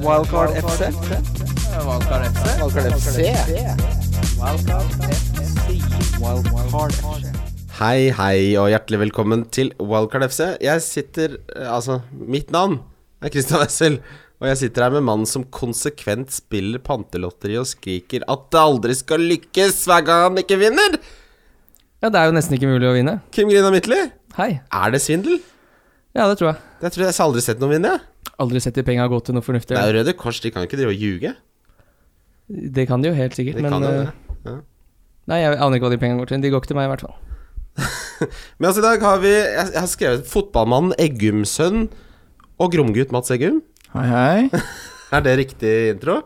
Wildcard FC. Valkar FC. Wildcard FC. Wildcard FC. Hei, hei, og hjertelig velkommen til Wildcard FC. Jeg sitter eh, Altså, mitt navn er Christian Wessel, og jeg sitter her med mannen som konsekvent spiller pantelotteri og skriker at det aldri skal lykkes hver gang han ikke vinner! Ja, det er jo nesten ikke mulig å vinne. Kim Grina Midtly, Hei. er det svindel? Ja, det tror jeg. Jeg tror jeg har aldri sett noen vinne. jeg. Aldri sett de penga gå til noe fornuftig. Det er jo Det, Røde Kors, de kan jo ikke drive og ljuge. kan de jo helt sikkert, De men kan jo eh, det. Ja. Nei, jeg aner ikke hva de penga går til. De går ikke til meg, i hvert fall. Men altså, i dag har vi Jeg, jeg har skrevet fotballmannen Eggum-sønn og gromgutt Mats Eggum. Hei, hei. Er det riktig intro?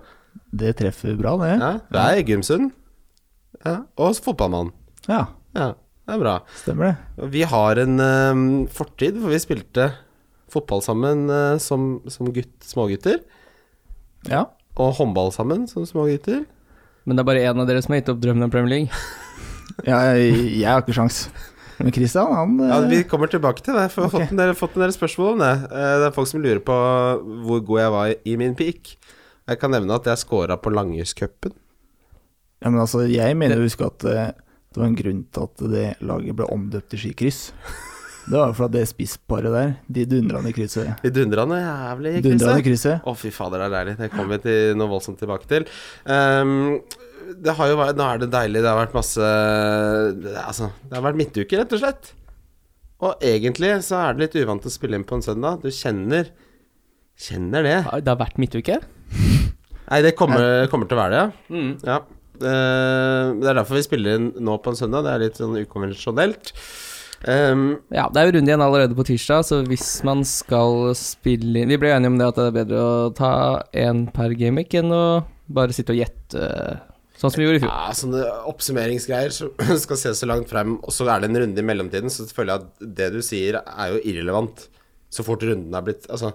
Det treffer bra, det. Ja, det er Eggum-sønn. Ja, og fotballmann. Ja, Ja, det er bra. stemmer det. Vi har en eh, fortid hvor vi spilte fotball sammen eh, som, som gutt, smågutter. Ja. Og håndball sammen som smågutter. Men det er bare én av dere som har gitt opp drømmen om Premier League. ja jeg, jeg har ikke sjans. Men Christian, han eh, Ja, vi kommer tilbake til det, for jeg har Ok. fått en, del, fått en del spørsmål om det. Eh, Det er folk som lurer på hvor god jeg var i min peak. Jeg kan nevne at jeg scora på Langhuscupen. ja, men altså, Jeg mener å huske at eh, det var en grunn til at det laget ble omdøpt til Skikryss. Det var jo for at det spissparet der, de dundrende krysset Vi dundra noe jævlig i Dundrende krysset. krysset. Å, fy fader, det er deilig. Det kommer vi til noe voldsomt tilbake til. Ehm, det har jo vært, nå er det deilig. Det har vært masse det er- Altså, det har vært midtuke, rett og slett. Og egentlig så er det litt uvant å spille inn på en søndag. Du kjenner Kjenner det. Det har vært midtuke. Nei, det kommer, kommer til å være det, ja. ja. Ehm, det er derfor vi spiller inn nå på en søndag. Det er litt sånn ukonvensjonelt. Ehm, Ja, det er jo runde igjen allerede på tirsdag, så hvis man skal spille inn Vi ble enige om det at det er bedre å ta én per gamic enn å bare sitte og gjette, sånn som vi gjorde i fjor. Ja, sånne oppsummeringsgreier som skal se så langt frem, og så er det en runde i mellomtiden, så føler jeg at det du sier er jo irrelevant så fort runden er blitt Altså,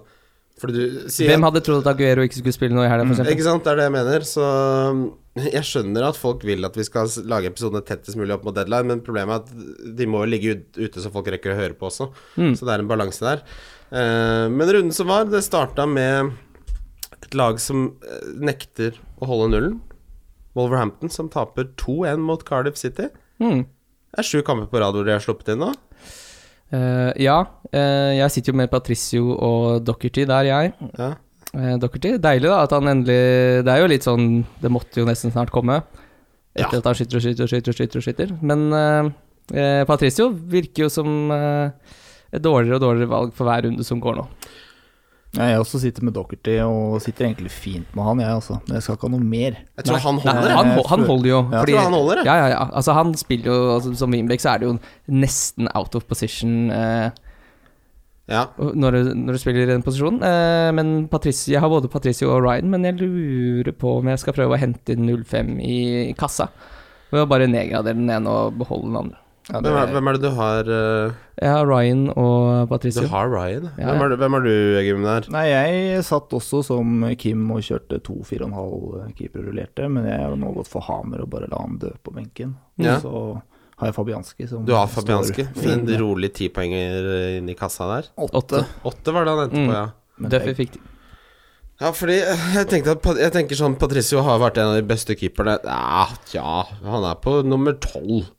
fordi du sier Hvem hadde trodd at Aguero ikke skulle spille nå i helga, f.eks.? Ikke sant, det er det jeg mener. Så um, jeg skjønner at folk vil at vi skal s- lage episodene tettest mulig opp mot deadline, men problemet er at de må jo ligge ut- ute så folk rekker å høre på også. Mm. Så det er en balanse der. Eh, men runden som var, det starta med et lag som eh, nekter å holde nullen. Wolverhampton som taper 2-1 mot Cardiff City. Mm. Det er sju kamper på rad hvor de har sluppet inn nå. Eh, ja, eh, jeg sitter jo med Patricio og Dockerty der, jeg. Ja. Eh, Doherty. Deilig da, at han endelig Det er jo litt sånn Det måtte jo nesten snart komme. Etter Ja. at han skyter og skyter og skyter og skyter. Og skyter. Men eh, eh, Patricio virker jo som eh, et dårligere og dårligere valg for hver runde som går nå. Ja, jeg også sitter med Dockerty, og sitter egentlig fint med han, jeg, altså. Men jeg skal ikke ha noe mer. Jeg tror han Nei, holder. jeg. han, hol- han holder jo. Ja. Jeg tror han holder, jeg. ja, ja, ja. Altså, han spiller jo altså, Som wingback så er det jo nesten out of position eh, Ja. når, du, når du spiller i den posisjonen. Eh, men Patricio, jeg har både Patricio og Ryan, men jeg lurer på om jeg skal prøve å hente inn 05 i kassa. Ved å bare nedgradere den ene og beholde den andre. Ja, det, Hvem er, hvem er det du har eh, Jeg har Ryan og Du Patricio. har Ryan. Ja, Hvem ja. er, du- hvem er du, Egim, der? Nei, jeg satt også som Kim og kjørte to 4,5 keeperrullerte, men jeg har nå gått for Hamer og bare la han dø på benken. Ja. Og Så har jeg Fabianski som Du har står Fabianski. En fin med rolig tipoenger inn i kassa der. åtte. Åtte var det han endte Mm. på, ja. Men Duffy det- fikk de. Ja, fordi eh, jeg, tenkte at, Pat- jeg tenker sånn Patricio har vært en av de beste keeperne. Ja, tja, han er på nummer tolv.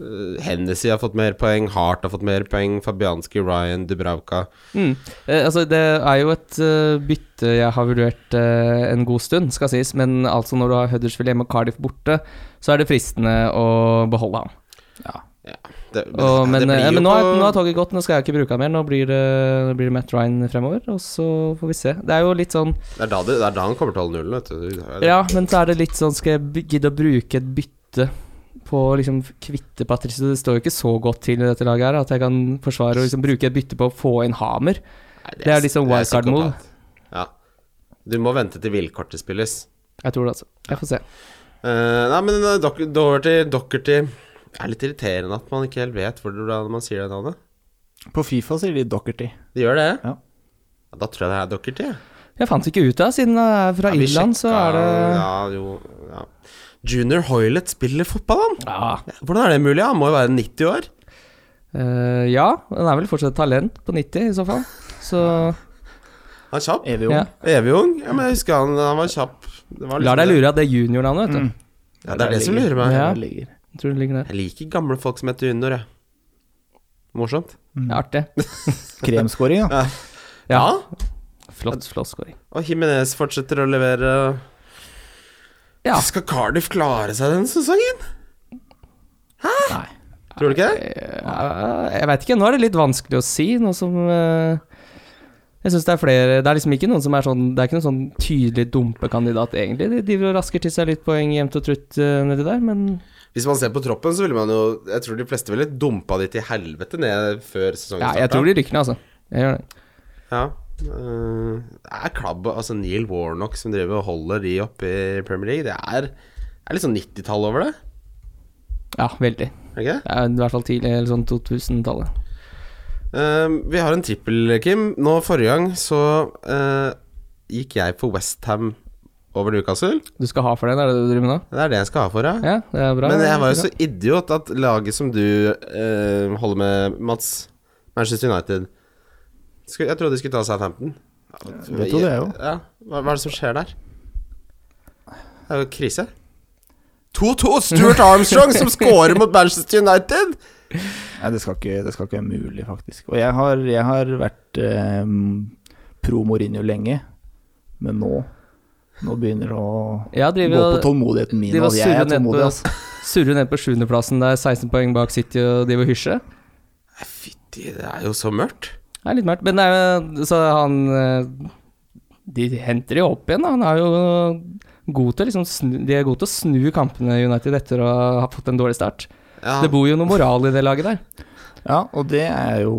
Eh, Hennessy har fått mer poeng, Hart har fått mer poeng, Fabianski, Ryan, Dubravka Mm. Eh, altså, det er jo et eh, bytte jeg har vurdert eh, en god stund, skal sies. Men altså, når du har Huddersfield hjemme og Cardiff borte, så er det fristende å beholde ham. det, Og, men det blir eh, jo men nå, er, på- nå er toget gått, nå skal jeg ikke bruke ham mer. Nå blir, det, nå blir det Matt Ryan fremover, og så får vi se. Det er jo litt sånn det, er da det, det er da han kommer til å holde nullen, vet du. Det er- Ja, men så er det litt sånn Skal jeg b- gidde å bruke et bytte på å liksom kvitte Patricio? Det står jo ikke så godt til i dette laget her at jeg kan forsvare å liksom bruke et bytte på å få inn Hamer. Nei, det er liksom det wildcard move. psykopat. Ja. Du må vente til villkortet spilles. Jeg tror det, altså. Jeg får se. Eh, nei, men eh, Doc- Doherty Doherty er litt irriterende at man ikke helt vet hvordan man sier det navnet. På Fifa sier de Dockerty. De gjør det? Ja. Ja, Da tror jeg det er Doherty. ja. Jeg fant ikke ut av siden jeg er fra Ja, vi Irland, så sjekka- er det ja. Ja, jo ja. Junior Hoilet spiller fotball, han! Ja. Hvordan er det mulig? Han må jo være 90 år. Eh, ja, han er vel fortsatt talent på 90 i så fall. Så Han er kjapp. Evig ung. Ja. Evig ung. Ja, men jeg husker han, han var kjapp. Det var liksom Lar deg det. lure av det juniornavnet, vet du. Mm. Ja, det er det som lurer meg. Ja. Det ligger. Jeg tror det ligger der. Jeg liker gamle folk som heter Junior, jeg. Morsomt. Det er artig. Kremskåring, da. Ja. Flott, flott scoring. Og Jimenez fortsetter å levere. Ja. Skal Cardiff klare seg denne sesongen? Nei. Tror du ikke det? Ja, Jeg veit ikke. Nå er det litt vanskelig å si, noe som eh, Jeg syns det er flere Det er liksom ikke noen som er sånn Det er ikke noen sånn tydelig dumpekandidat, egentlig. De driver og rasker til seg litt poeng jevnt og trutt eh, nedi der, men Hvis man ser på troppen, så ville man jo Jeg tror de fleste ville dumpa de til helvete ned før sesongen ja, jeg tror de rykker ned, altså. Jeg gjør det. Ja. Eh, det er klabb Altså Neil Warnock som driver og holder de oppe i Premier League. Det er, det er litt sånn 90-tall over det. Ja, veldig. Er det ikke det? Det er I hvert fall tidlig, eller sånn 2000-tallet. Eh, vi har en trippel, Kim. Nå Forrige gang så eh, gikk jeg for Westham over Newcastle. Du skal ha for den, er det det du driver med nå? Det er det jeg skal ha for deg. Ja, det er bra. Men jeg var jo så idiot at laget som du eh, holder med, Mats Manchester United skulle, Jeg trodde de skulle ta Southampton. det trodde jeg jo. Ja. Hva, hva er det som skjer der? Det er jo krise. 2-2! Stuart Armstrong som scorer mot Manchester United! Nei, det skal, ikke, det skal ikke være mulig, faktisk. Og jeg har, jeg har vært eh, pro Mourinho lenge, men nå Nå begynner det å Ja, driver gå og- på tålmodigheten min. de var Og jeg er surre ned på- tålmodig, altså. Surrer ned på sjuendeplassen der, 16 poeng bak City og de var hysje. Nei, Fytti, det er jo så mørkt. Det er litt mørkt. Men det er jo- så han eh, De henter jo opp igjen, da. Han er jo god til å liksom snu, De er gode til å snu kampene i United etter å ha fått en dårlig start. Ja, Det bor jo noe moral i det laget der. Ja, og det er jo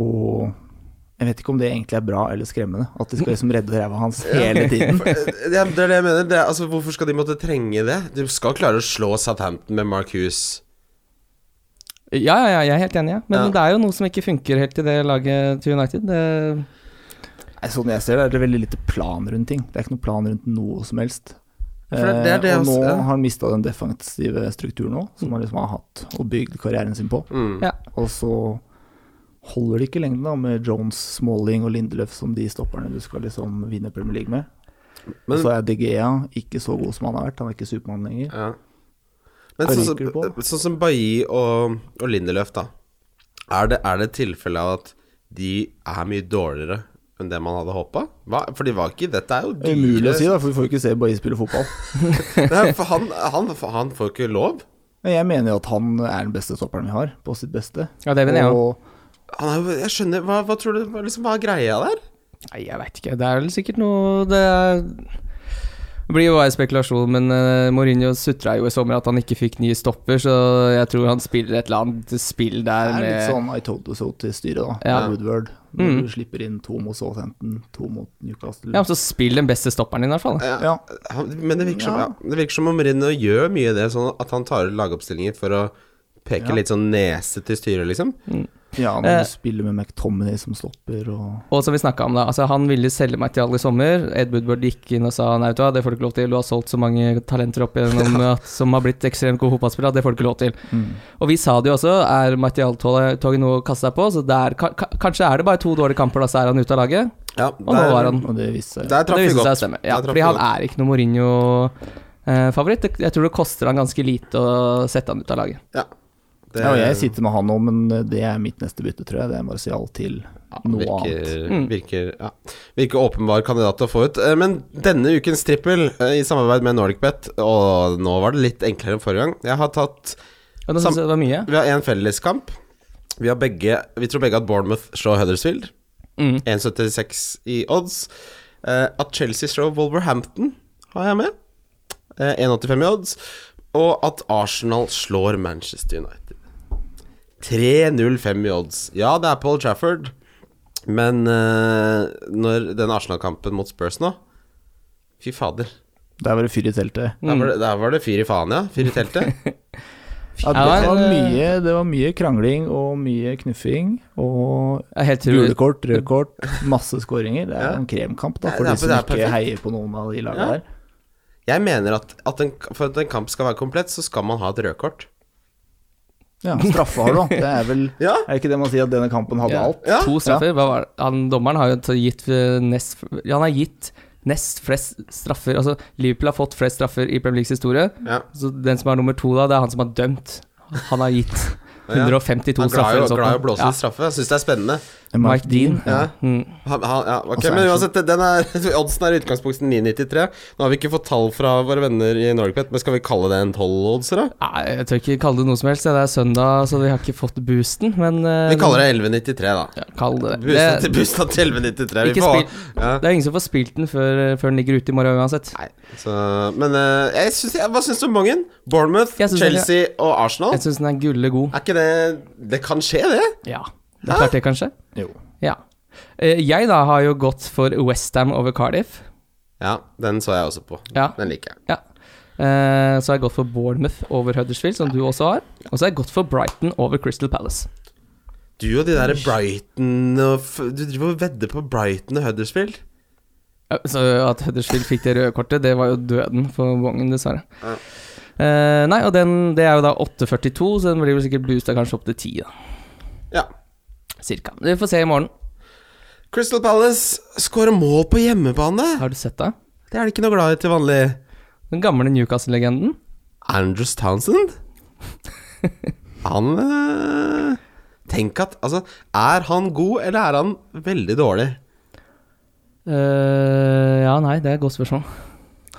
Jeg vet ikke om det egentlig er bra eller skremmende. At de skal liksom redde ræva hans hele tiden. For, eh, det er det er det jeg mener. Det er, altså, hvorfor skal de måtte trenge det? Du skal klare å slå Southampton med Mark Hughes. Ja, ja, ja, jeg er helt enig, ja. men Ja. det er jo noe som ikke funker helt i det laget til United. Det, Nei, Sånn jeg ser det, er det veldig lite plan rundt ting. Det er ikke noe plan rundt noe som helst. Ja, for det- det er det Eh, og også, nå ja. har han mista den defensive strukturen òg, som han liksom har hatt og bygd karrieren sin på. Mm. ja. Og så holder det ikke i lengden da med Jones, Smalling og Lindelöf som de stopperne du skal liksom vinne Premier League med. Men- og så er De Gea ikke så god som han har vært, han er ikke Supermann lenger. Ja. Men Hva sånn, liker du som- på? sånn som Bailly og, og Lindeløf, da. Er det, er det tilfelle av at de er mye dårligere enn det man hadde håpa? For de var ikke Dette er jo Det er umulig å si, da, for vi får jo ikke se Bailly spille fotball. Nei, for han, han, for han får ikke lov. Men jeg mener jo at han er den beste stopperen vi har, på sitt beste. Ja, det mener jeg også. og Han er, jo- jeg skjønner Hva, hva tror du hva- liksom, Hva er greia der? Nei, jeg veit ikke. Det er vel sikkert noe Det er det blir jo bare spekulasjon, men eh, Mourinho sutra jo i sommer at han ikke fikk ny stopper, så jeg tror han spiller et eller annet spill det der er litt med sånn I told you so til styret, da. Ja. Woodward. Når Mm. du slipper inn to mot Southampton, to mot Newcastle. Ja, men så spill den beste stopperen din, i hvert fall. da. Ja. Han, men det virker, som, Ja. ja, det virker som om Mourinho gjør mye av det, sånn at han tar ut lagoppstillinger for å peke Ja. litt sånn nese til styret, liksom. ja, når du Eh. spiller med McTominay som stopper og Og som vi snakka om, da. Altså, han ville selge meg til alle i sommer. Ed Woodward gikk inn og sa nei, vet du hva, det får du ikke lov til. Du har solgt så mange talenter opp igjennom at, som har blitt ekstremt gode fotballspillere, at det får du ikke lov til. Mm. Og vi sa det jo også, er Martial-toget noe å kaste seg på? Så det er, ka- ka- kanskje er det bare to dårlige kamper, da så er han ute av laget. Ja, Og nå var han Og det viste seg. Der traff Det vi viste seg å godt. stemme. Ja, Der traff fordi vi han godt. er ikke noe Mourinho-favoritt. jeg tror det koster han ganske lite å sette han ut av laget. Ja. Det- Ja, og jeg sitter med han nå, men eh, det er mitt neste bytte, tror jeg. Det er Martial til noe annet. virker, Virker, ja. virker åpenbar kandidat til å få ut. Eh, Men denne ukens trippel, eh, i samarbeid med NordicBet Og nå var det litt enklere enn forrige gang. Jeg har tatt Og nå synes jeg det var mye. Vi har én felleskamp. Vi, har begge, vi tror begge at Bournemouth slår Huddersfield. 1,76 i odds. Eh, at Chelsea slår Wolverhampton, har jeg med. Eh, 1,85 i odds. Og at Arsenal slår Manchester United. 3,05 i odds. Ja, det er Paul Trafford, men eh, når den Arsenal-kampen mot Spurs nå Fy fader. Der var det fyr i teltet. Mm. Der var det, der var det fyr i faen, ja. Fyr i teltet. Ja, det, Ja, var det- mye, det var mye krangling og mye knuffing. Og Det er helt gule utrolig. kort, røde kort, masse skåringer. Det er en kremkamp da, for Nei, det de er- som det er ikke perfekt. heier på noen av de lagene Ja. der. Jeg mener at, at en, for at en kamp skal være komplett, så skal man ha et rødkort. Ja, straffa har du, da. det er vel Ja, Er ikke det man sier at denne kampen hadde Ja. alt? ja. To straffer. Hva var det? Han, dommeren har jo t- gitt eh, nest, Han har gitt nest flest straffer. Altså, Liverpool har fått flest straffer i Premier Leagues historie. Ja. Så den som er nummer to da, det er han som har dømt. Han har gitt 152 Han er glad straffer. i eller å- sånt. glad i å blåse Ja. ut straffe. Jeg syns det er spennende. Mike Dean. Ja. Ja. Mm. Han, han, ja, ok, Altså, men er det uansett, den er, oddsen er i utgangspunktet 9,93. Nå har vi ikke fått tall fra våre venner i Norgepet, men skal vi kalle det en 12-oddser, da? Nei, jeg tør ikke kalle det noe som helst. Det er søndag, så vi har ikke fått boosten, men eh, Vi kaller det 11,93, da. ja, kall det det. Busta til, busta til 11,93. Vi Ikke får spill. ja. Det er ingen som får spilt den før, før den ligger ute i morgen uansett. Så, men eh, jeg synes, jeg, hva syns du om Mangen? Bournemouth, Jeg synes det- Chelsea og Arsenal? Jeg syns den er gulle god. Er ikke det Det kan skje, det? Ja. Det er klart det, kanskje? Jo. Ja. Eh, Jeg da har jo gått for Westham over Cardiff. Ja, den så jeg også på. Ja. Den liker jeg. Eh, Så har jeg gått for Bournemouth over Huddersfield, som du også har. Og så har jeg gått for Brighton over Crystal Palace. Du og de der Brighton og f Du driver og vedder på Brighton og Huddersfield? Ja, Eh, Så at Huddersfield fikk det røde kortet, det var jo døden for Wongen, dessverre. Ja. Eh, nei, og den, det er jo da 8,42, så den blir vel sikkert boosta kanskje opp til 10, da. Ja. Cirka. Vi får se i morgen. Crystal Palace skårer mål på hjemmebane. Har du sett det? Det er de ikke noe glad i til vanlig. Den gamle Newcastle-legenden. Andrews Townsend? Han eh, Tenk at Altså, er han god, eller er han veldig dårlig? Eh, ja, nei, det er et godt spørsmål.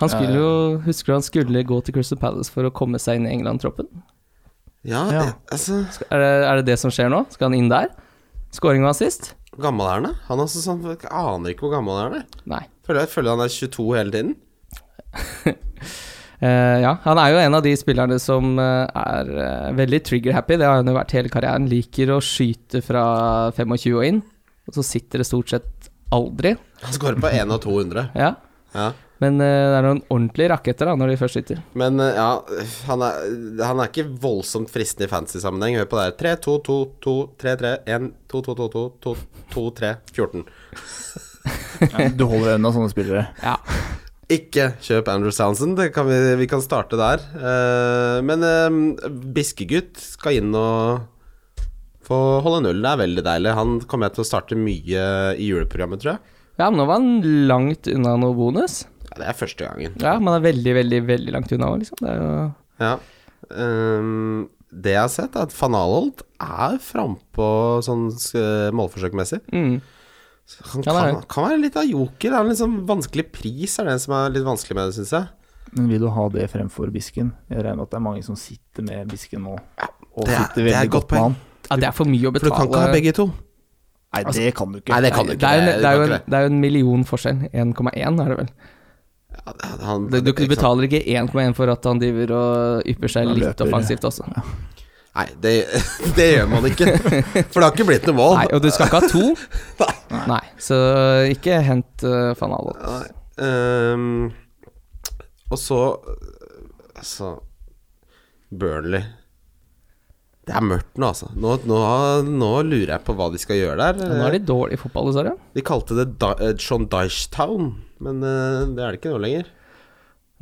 Han Ja, skulle ja. jo, Husker du han skulle gå til Crystal Palace for å komme seg inn i England-troppen? Ja, Ja. eh, altså Er, det- er det det som skjer nå? Skal han inn der? Skåring var sist? Hvor gammel er han, da? Han er også sånn, jeg aner ikke hvor gammel han er. da. Nei. Føler jeg føler han er 22 hele tiden. Eh, ja, han er jo en av de spillerne som eh, er eh, veldig trigger-happy. Det har han jo vært hele karrieren. Liker å skyte fra 25 og inn, og så sitter det stort sett aldri. Han scorer på 1 av 200. Ja. Ja. Men eh, det er noen ordentlige raketter da, når de først sitter. Men eh, ja, han er, han er ikke voldsomt fristende i fantasy-sammenheng. Hør på det her. 3, 2, 2, 2, 3, 3, 1, 2, 2, 2, 2, 2, 2, 3, 14. Du holder deg unna sånne spillere. Ja. Ikke kjøp Andrew Townsend, det kan vi, vi kan starte der. Eh, men eh, Biskegutt skal inn og få holde null. Det er veldig deilig. Han kommer jeg til å starte mye i juleprogrammet, tror jeg. ja, men nå var han langt unna noe bonus. Ja, det er første gangen. Ja, man er veldig, veldig, veldig langt unna også, liksom. Det er jo Ja. Ehm, det jeg har sett, er at van Alholt er frampå sånn eh, målforsøkmessig. mm. Han Ja, det er kan, kan være litt av joker. Det er en litt sånn vanskelig pris er det som er litt vanskelig med det, syns jeg. Men vil du ha det fremfor bisken? Jeg regner med at det er mange som sitter med bisken nå. Og det er- sitter det er veldig et godt godt med poeng. han. Ja, det er for mye å For du betale. kan ikke ha begge to. Nei, det kan du ikke. Altså, Nei, det kan du det, ikke. er det- jo en, du det, er kan jo ikke en, det er jo en million forskjell. 1,1 er det vel. Ja, han- Du, du, ikke sant? betaler ikke 1,1 for at han driver og ypper seg Han litt løper. offensivt også. Nei, det, det gjør man ikke. For det har ikke blitt noe mål. Nei, og du skal ikke ha to. Nei, så ikke hent uh, van Alot. Nei, ehm, og så Altså Burnley. Det er mørkt nå, altså. Nå, nå, nå lurer jeg på hva de skal gjøre der. Nå er de dårlige i fotball, dessverre. De kalte det da, eh, John Dyche Town, men eh, det er det ikke nå lenger.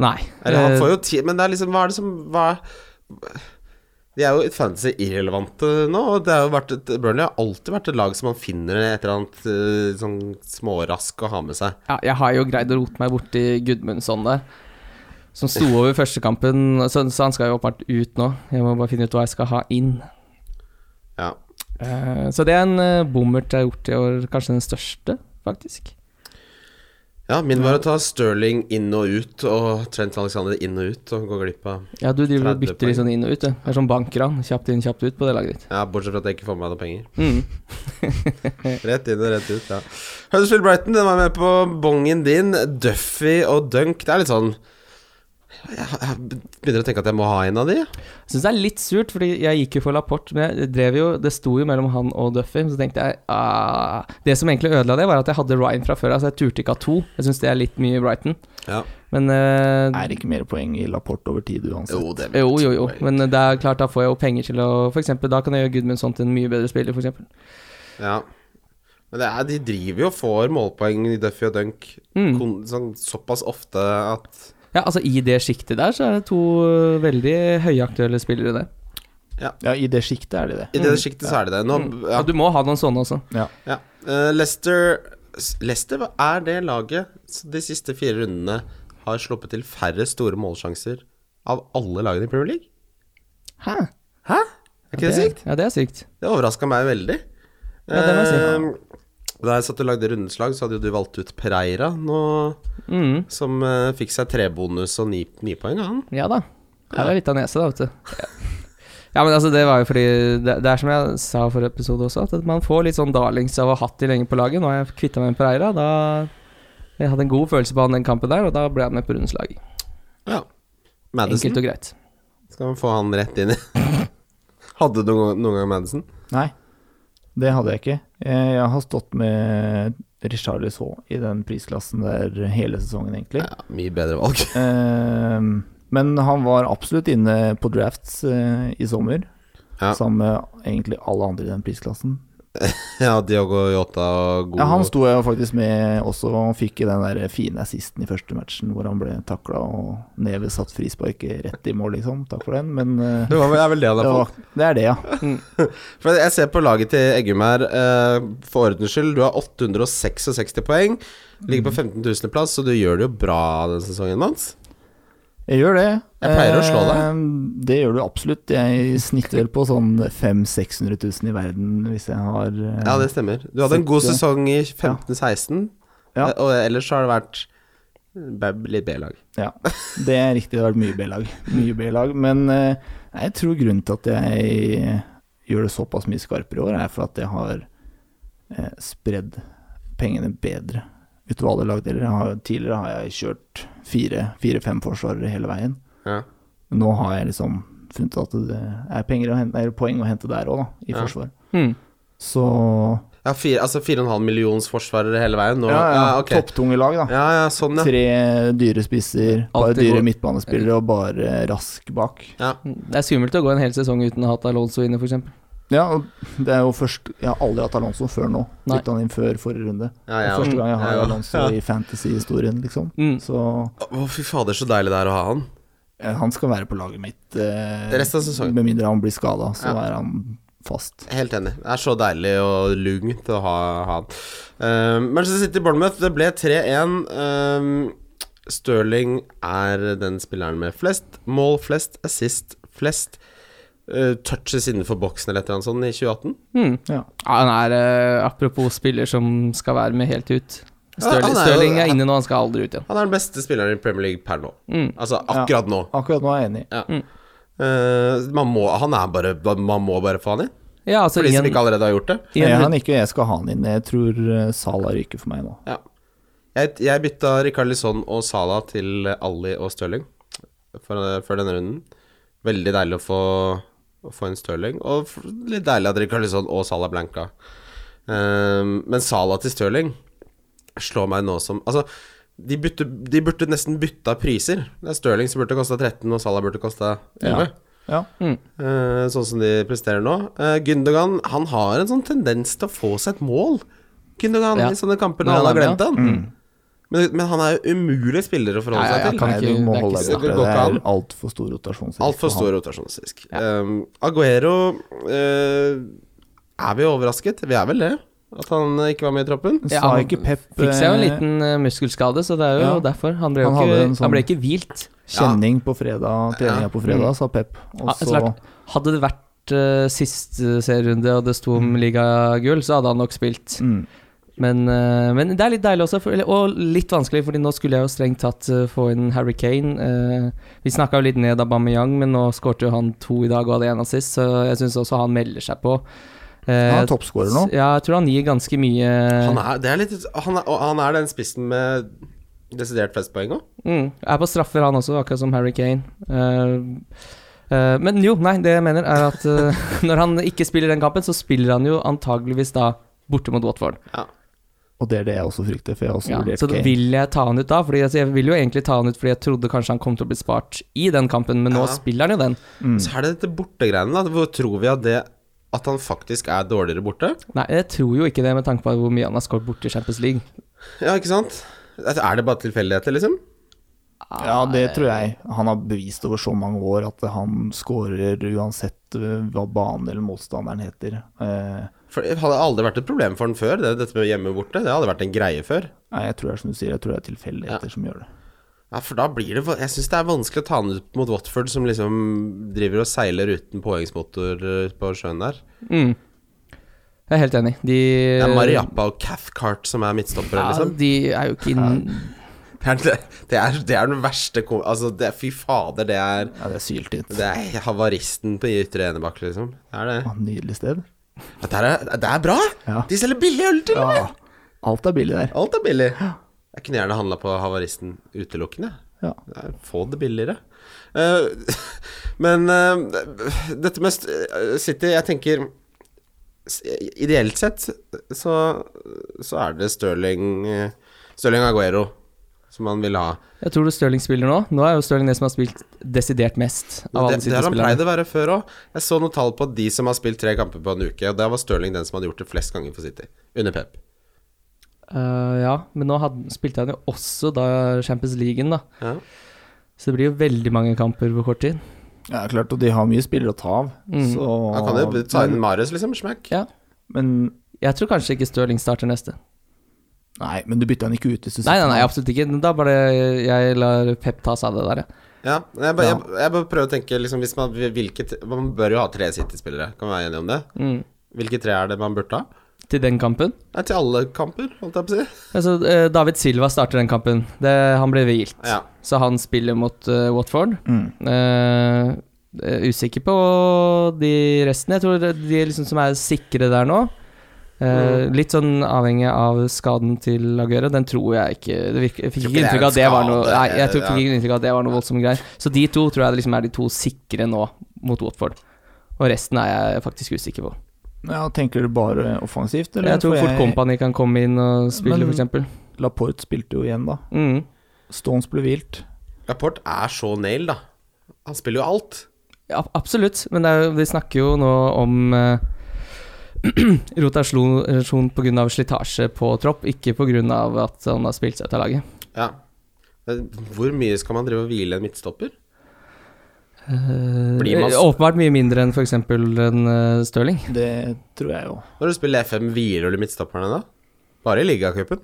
Nei. Eller, eh, han får jo ti, men det er liksom Hva er det som hva er- De er jo fancy irrelevante eh, nå. Og det har jo vært et, Burnley har alltid vært et lag som man finner et eller annet eh, sånn smårask å ha med seg. Eh, ja, jeg har jo greid å rote meg borti Gudmundsson der, som sto over første kampen. Så, så han skal jo åpenbart ut nå. Jeg må bare finne ut hva jeg skal ha inn. Ja. Eh, så det er en eh, bommert jeg har gjort i år. Kanskje den største, faktisk. ja, min var å ta Sterling inn og ut, og Trent Alexander inn og ut, og gå glipp av Ja, du driver og 30 bytter litt poeng. sånn inn og ut, du. Det er sånn bankran. Kjapt inn, kjapt ut på det laget ditt. Ja, bortsett fra at jeg ikke får med meg noe penger. Mm. Rett inn og rett ut, ja. Huddersfield Brighton, den var med på bongen din. Duffy og Dunk, det er litt sånn jeg, jeg begynner å tenke at jeg må ha en av de. Syns det er litt surt, fordi jeg gikk jo for Lapport, men jeg drev jo Det sto jo mellom han og Duffy, så tenkte jeg ah. Det som egentlig ødela det, var at jeg hadde Ryan fra før av, så jeg turte ikke ha to. Jeg syns det er litt mye Brighton. Ja. Men eh, Er det ikke mer poeng i Laporte over tid uansett? Jo, det jo, jo, jo. Men eh, det er klart, da får jeg jo penger til å For eksempel, da kan jeg gjøre Gudmundsson til en mye bedre spiller, for eksempel. Ja. Men det er, de driver jo og får målpoeng i Duffy og Dunk Mm. kon, sånn, såpass ofte at Ja, altså I det sjiktet der så er det to øh, veldig høyaktuelle spillere der. Ja, i det sjiktet er de det. I det sjiktet så er det det. Nå, Mm. ja, Ja, du må ha noen sånne også. Ja. ja. Eh, Leicester Leicester hva er det laget som de siste fire rundene har sluppet til færre store målsjanser av alle lagene i Premier League? Hæ? Hæ? Er ikke det sykt? Ja, det er sykt. Det overraska meg veldig. Ja, det må jeg si. Eh, Da jeg satt og lagde rundeslag, så hadde jo du valgt ut Pereira nå, Mm. som eh, fikk seg trebonus og ni, ni poeng, han. Ja da. Her er litt av nese, da, vet du. Ja, men altså, det var jo fordi Det, det er som jeg sa i forrige episode også, at man får litt sånn darlings av å ha hatt de lenge på laget. Nå har jeg kvitta meg med Pereira. Da jeg hadde en god følelse på han den kampen der, og da ble han med på rundens lag. Ja. Madison. Enkelt og greit. Skal man få han rett inn i Hadde du noen, noen gang Madison? Nei, det hadde jeg ikke. Jeg, jeg har stått med Richard i den prisklassen der hele sesongen, egentlig. Ja, mye bedre valg. Ehm, men han var absolutt inne på drafts eh, i sommer, Ja. sammen med egentlig alle andre i den prisklassen. Ja, Diogo Jota og god Ja, han sto jeg jo faktisk med også, og fikk i den der fine assisten i første matchen hvor han ble takla og Neve satt frisparket rett i mål, liksom. Takk for den, men eh, Det var vel, det er vel det han det, har fått. var, det er det, ja. For jeg ser på laget til Eggum her, eh, for ordens skyld. Du har 866 poeng. Ligger på 15 000.-plass, så du gjør det jo bra denne sesongen, Mans. Jeg gjør det. Jeg pleier å slå deg. Eh, Det gjør du absolutt. Jeg snitter på sånn 500 000-600 000 i verden hvis jeg har eh, Ja, det stemmer. Du hadde en god Sitte- sesong i 15-16, Ja. eh, og ellers så har det vært b- litt B-lag. ja. Det er riktig, det har vært mye B-lag. Mye B-lag. Men eh, jeg tror grunnen til at jeg gjør det såpass mye skarpere i år, er for at jeg har eh, spredd pengene bedre utover alle lagdeler. Jeg har- Tidligere har jeg kjørt fire- fire-fem forsvarere hele veien. Ja. Nå har jeg liksom funnet at det er penger å hente, eller poeng å hente der òg, da, i Ja. forsvar. Mm. Så Ja, fire, altså 4,5 millions forsvarere hele veien nå. ja, ja, ok. topptunge lag, da. Ja, ja, sånn, ja. Tre dyre spisser, bare Alltid dyre god- midtbanespillere og bare rask bak. ja. Det er skummelt å gå en hel sesong uten å ha hatt Alonso inne, f.eks. Ja, og det er jo først Jeg har aldri hatt Alonso før nå. Nei. Bytta han inn før forrige runde. Ja, Det ja. er første gang jeg har Ja, ja. Alonso Ja. i fantasy-historien, liksom. Mm. Så Å, fy fader, så deilig det er å ha han. eh, han skal være på laget mitt. Eh, Resten av sesongen. Med mindre han blir skada, så Ja. er han fast. Helt enig. Det er så deilig og lugnt å ha ha han. Uh, Manchester City Bournemouth, det ble 3-1. Um, Stirling er den spilleren med flest mål, flest assist, flest eh, touches innenfor boksen eller et eller annet sånt i 2018. Mm. Ja. Ja, han er eh, apropos spiller som skal være med helt ut. Stirling, han er jo- Stirling er inne nå, han skal aldri ut igjen. Han er den beste spilleren i Premier League per nå. Mm. Altså akkurat nå. Akkurat nå er jeg enig. Ja. Mm. Eh, man, må, han er bare, man må bare få han inn, Ja, altså, for de som ingen, ikke allerede har gjort det. i en Jeg, runde- han ikke, jeg skal ha han inn. Jeg tror eh, Salah ryker for meg nå. Ja. Jeg, jeg bytta Rikard Lisson og Sala til Ali og Stirling for- før denne runden. Veldig deilig å få, å få en Stirling, og f- litt deilig at Rikard Lisson og Sala blanka. Ehm, men Sala til Stirling slår meg nå som Altså, de, bytte, de burde nesten bytta priser. Det er Stirling som burde kosta 13, og Sala burde kosta 11. Ja. Ja. Eh, sånn som de presterer nå. Eh, Gündogan han har en sånn tendens til å få seg et mål. Gündogan Ja. i sånne kamper Når når alle har han er Mm. glemt han. Men, men han er jo umulig spiller å forholde Ja, ja, seg ja, til. kan Nei, ikke- du må det er holde deg borte. ikke snakk. Det Det går er ikke altfor stor rotasjonsrisk. Altfor for stor rotasjonsrisk. Um, Aguero eh, Er vi overrasket? Vi er vel det? At han eh, ikke var med i troppen? han. Ja, Sa han ikke Pep Fikk seg jo en eh, liten eh, muskelskade, så det er jo Ja. derfor. Han ble, jo Han ikke, hadde en sånn- han ble ikke hvilt. kjenning på fredag, treninga Ja. på fredag, sa Pep. Og Mm. Ja, så klart. Altså, Hadde det vært eh, siste serierunde og det sto om ligagull, så hadde han nok spilt. mm, Men, eh, men det er litt deilig også, for, eller- og litt vanskelig, Fordi nå skulle jeg jo strengt tatt eh, få inn Harry Kane. Eh, vi snakka jo litt ned av Bamiyang, men nå skårte jo han to i dag og hadde én assist, så jeg syns også han melder seg på. Eh, Han er toppskårer nå. Ja, jeg tror han gir ganske mye Han er, det er litt, han, er, og han er den spissen med desidert flest poeng òg. Mm, er på straffer han også, akkurat som Harry Kane. Eh, eh, men jo, nei, det jeg mener er at eh, når han ikke spiller den kampen, så spiller han jo antageligvis da borte mot Watford. Ja. Og det er det jeg også frykter, for jeg har også Ja, vurdert så da Kane. vil jeg ta han ut da, Fordi altså, jeg vil jo egentlig ta han ut fordi jeg trodde kanskje han kom til å bli spart i den kampen, men nå Ja. spiller han jo den. Mm. Så er det dette bortegreiene, da. Hvor tror vi at det At han faktisk er dårligere borte? Nei, jeg tror jo ikke det, med tanke på hvor mye han har skåret borte i Champions League. Altså, Ja, ikke sant? Er det bare tilfeldigheter, liksom? Ja, det tror jeg. Han har bevist over så mange år at han skårer uansett eh, hva banen eller motstanderen heter. Eh, For det hadde aldri vært et problem for han før, det, dette med hjemme og borte. Det hadde vært en greie før. Nei, jeg tror det er som du sier, jeg tror det er tilfeldigheter som gjør det. Ja, for da blir det Jeg syns det er vanskelig å ta han ut mot Watford, som liksom driver og seiler uten påhengsmotor eh, på sjøen der. Mm. Jeg er helt enig. De Det er Mariappa og Cathcart som er midtstoppere, Ja, liksom. de er jo ikke inn... Det er, det, er, det er den verste kom... Altså, det, fy fader, det er Ja, det er syltynt. Det er havaristen på ytre enebakk, liksom. Det er det. Ah, Nydelig sted. Ja, Det er, det er bra! Ja. De selger billig øl til og med! Ja, alt er billig der. Alt er billig. Jeg kunne gjerne handla på havaristen utelukkende. Ja. Nei, Få det billigere. Eh, men eh, dette med st- eh, City, jeg tenker s- Ideelt sett så, så er det Stirling eh, Stirling Aguero som man vil ha. Jeg tror du Stirling spiller nå. Nå er jo Stirling det som har spilt desidert mest av alle Det, det har han pleid City-spillerne. å være før òg. Jeg så noen tall på de som har spilt tre kamper på en uke, og der var Stirling den som hadde gjort det flest ganger for City. Under Pep. Eh, ja, men nå hadde, spilte han jo også da Champions League, da. Ja. Så det blir jo veldig mange kamper på kort tid. Ja, klart, og de har mye spillere å ta av. Mm. Så, Han kan jo ta inn Marius, liksom. Smack. Ja. men, Jeg tror kanskje ikke Stirling starter neste. nei, men du bytter han ikke ut hvis du Nei, nei, nei, han. absolutt ikke. Da bare jeg lar Pep ta seg av det der, jeg. Ja, jeg, bare, Ja. jeg, jeg bare prøver å tenke liksom, hvis man, hvilket, man bør jo ha tre City-spillere, kan vi være enige om det? Mm. Hvilke tre er det man burde ha? Til den kampen. Nei, til alle kamper, holdt jeg på å si. Altså, eh, David Silva starter den kampen. Det, han ble hvilt, Ja. så han spiller mot eh, Watford. Mm. Eh, eh, usikker på de resten. Jeg tror de liksom som er sikre der nå. Eh, Litt sånn avhengig av skaden til Aguero. Den tror jeg ikke det virker, Jeg fikk Tror ikke ikke det er inntrykk av at det en var noe skade, Nei, jeg tror ja. ikke inntrykk av at det var noe voldsomme greier. Så de to tror jeg liksom er de to sikre nå mot Watford. Og resten er jeg faktisk usikker på. Ja, tenker du bare offensivt, eller? Jeg tror For fort Company kan komme inn og spille, Men- f.eks. Laporte spilte jo igjen, da. Mm. Stones ble hvilt. Rapport er så nail, da. Han spiller jo alt. Ja, absolutt, men det er, jo- vi snakker jo nå om eh, rotasjon pga. slitasje på tropp, ikke pga. at han har spilt seg ut av laget. Ja. Men Hvor mye skal man drive og hvile en midtstopper? Eh, Blir man s- Åpenbart mye mindre enn f.eks. en uh, Stirling. Det tror jeg jo. Når du spiller FM, hviler du midtstopperne da? Bare i ligacupen.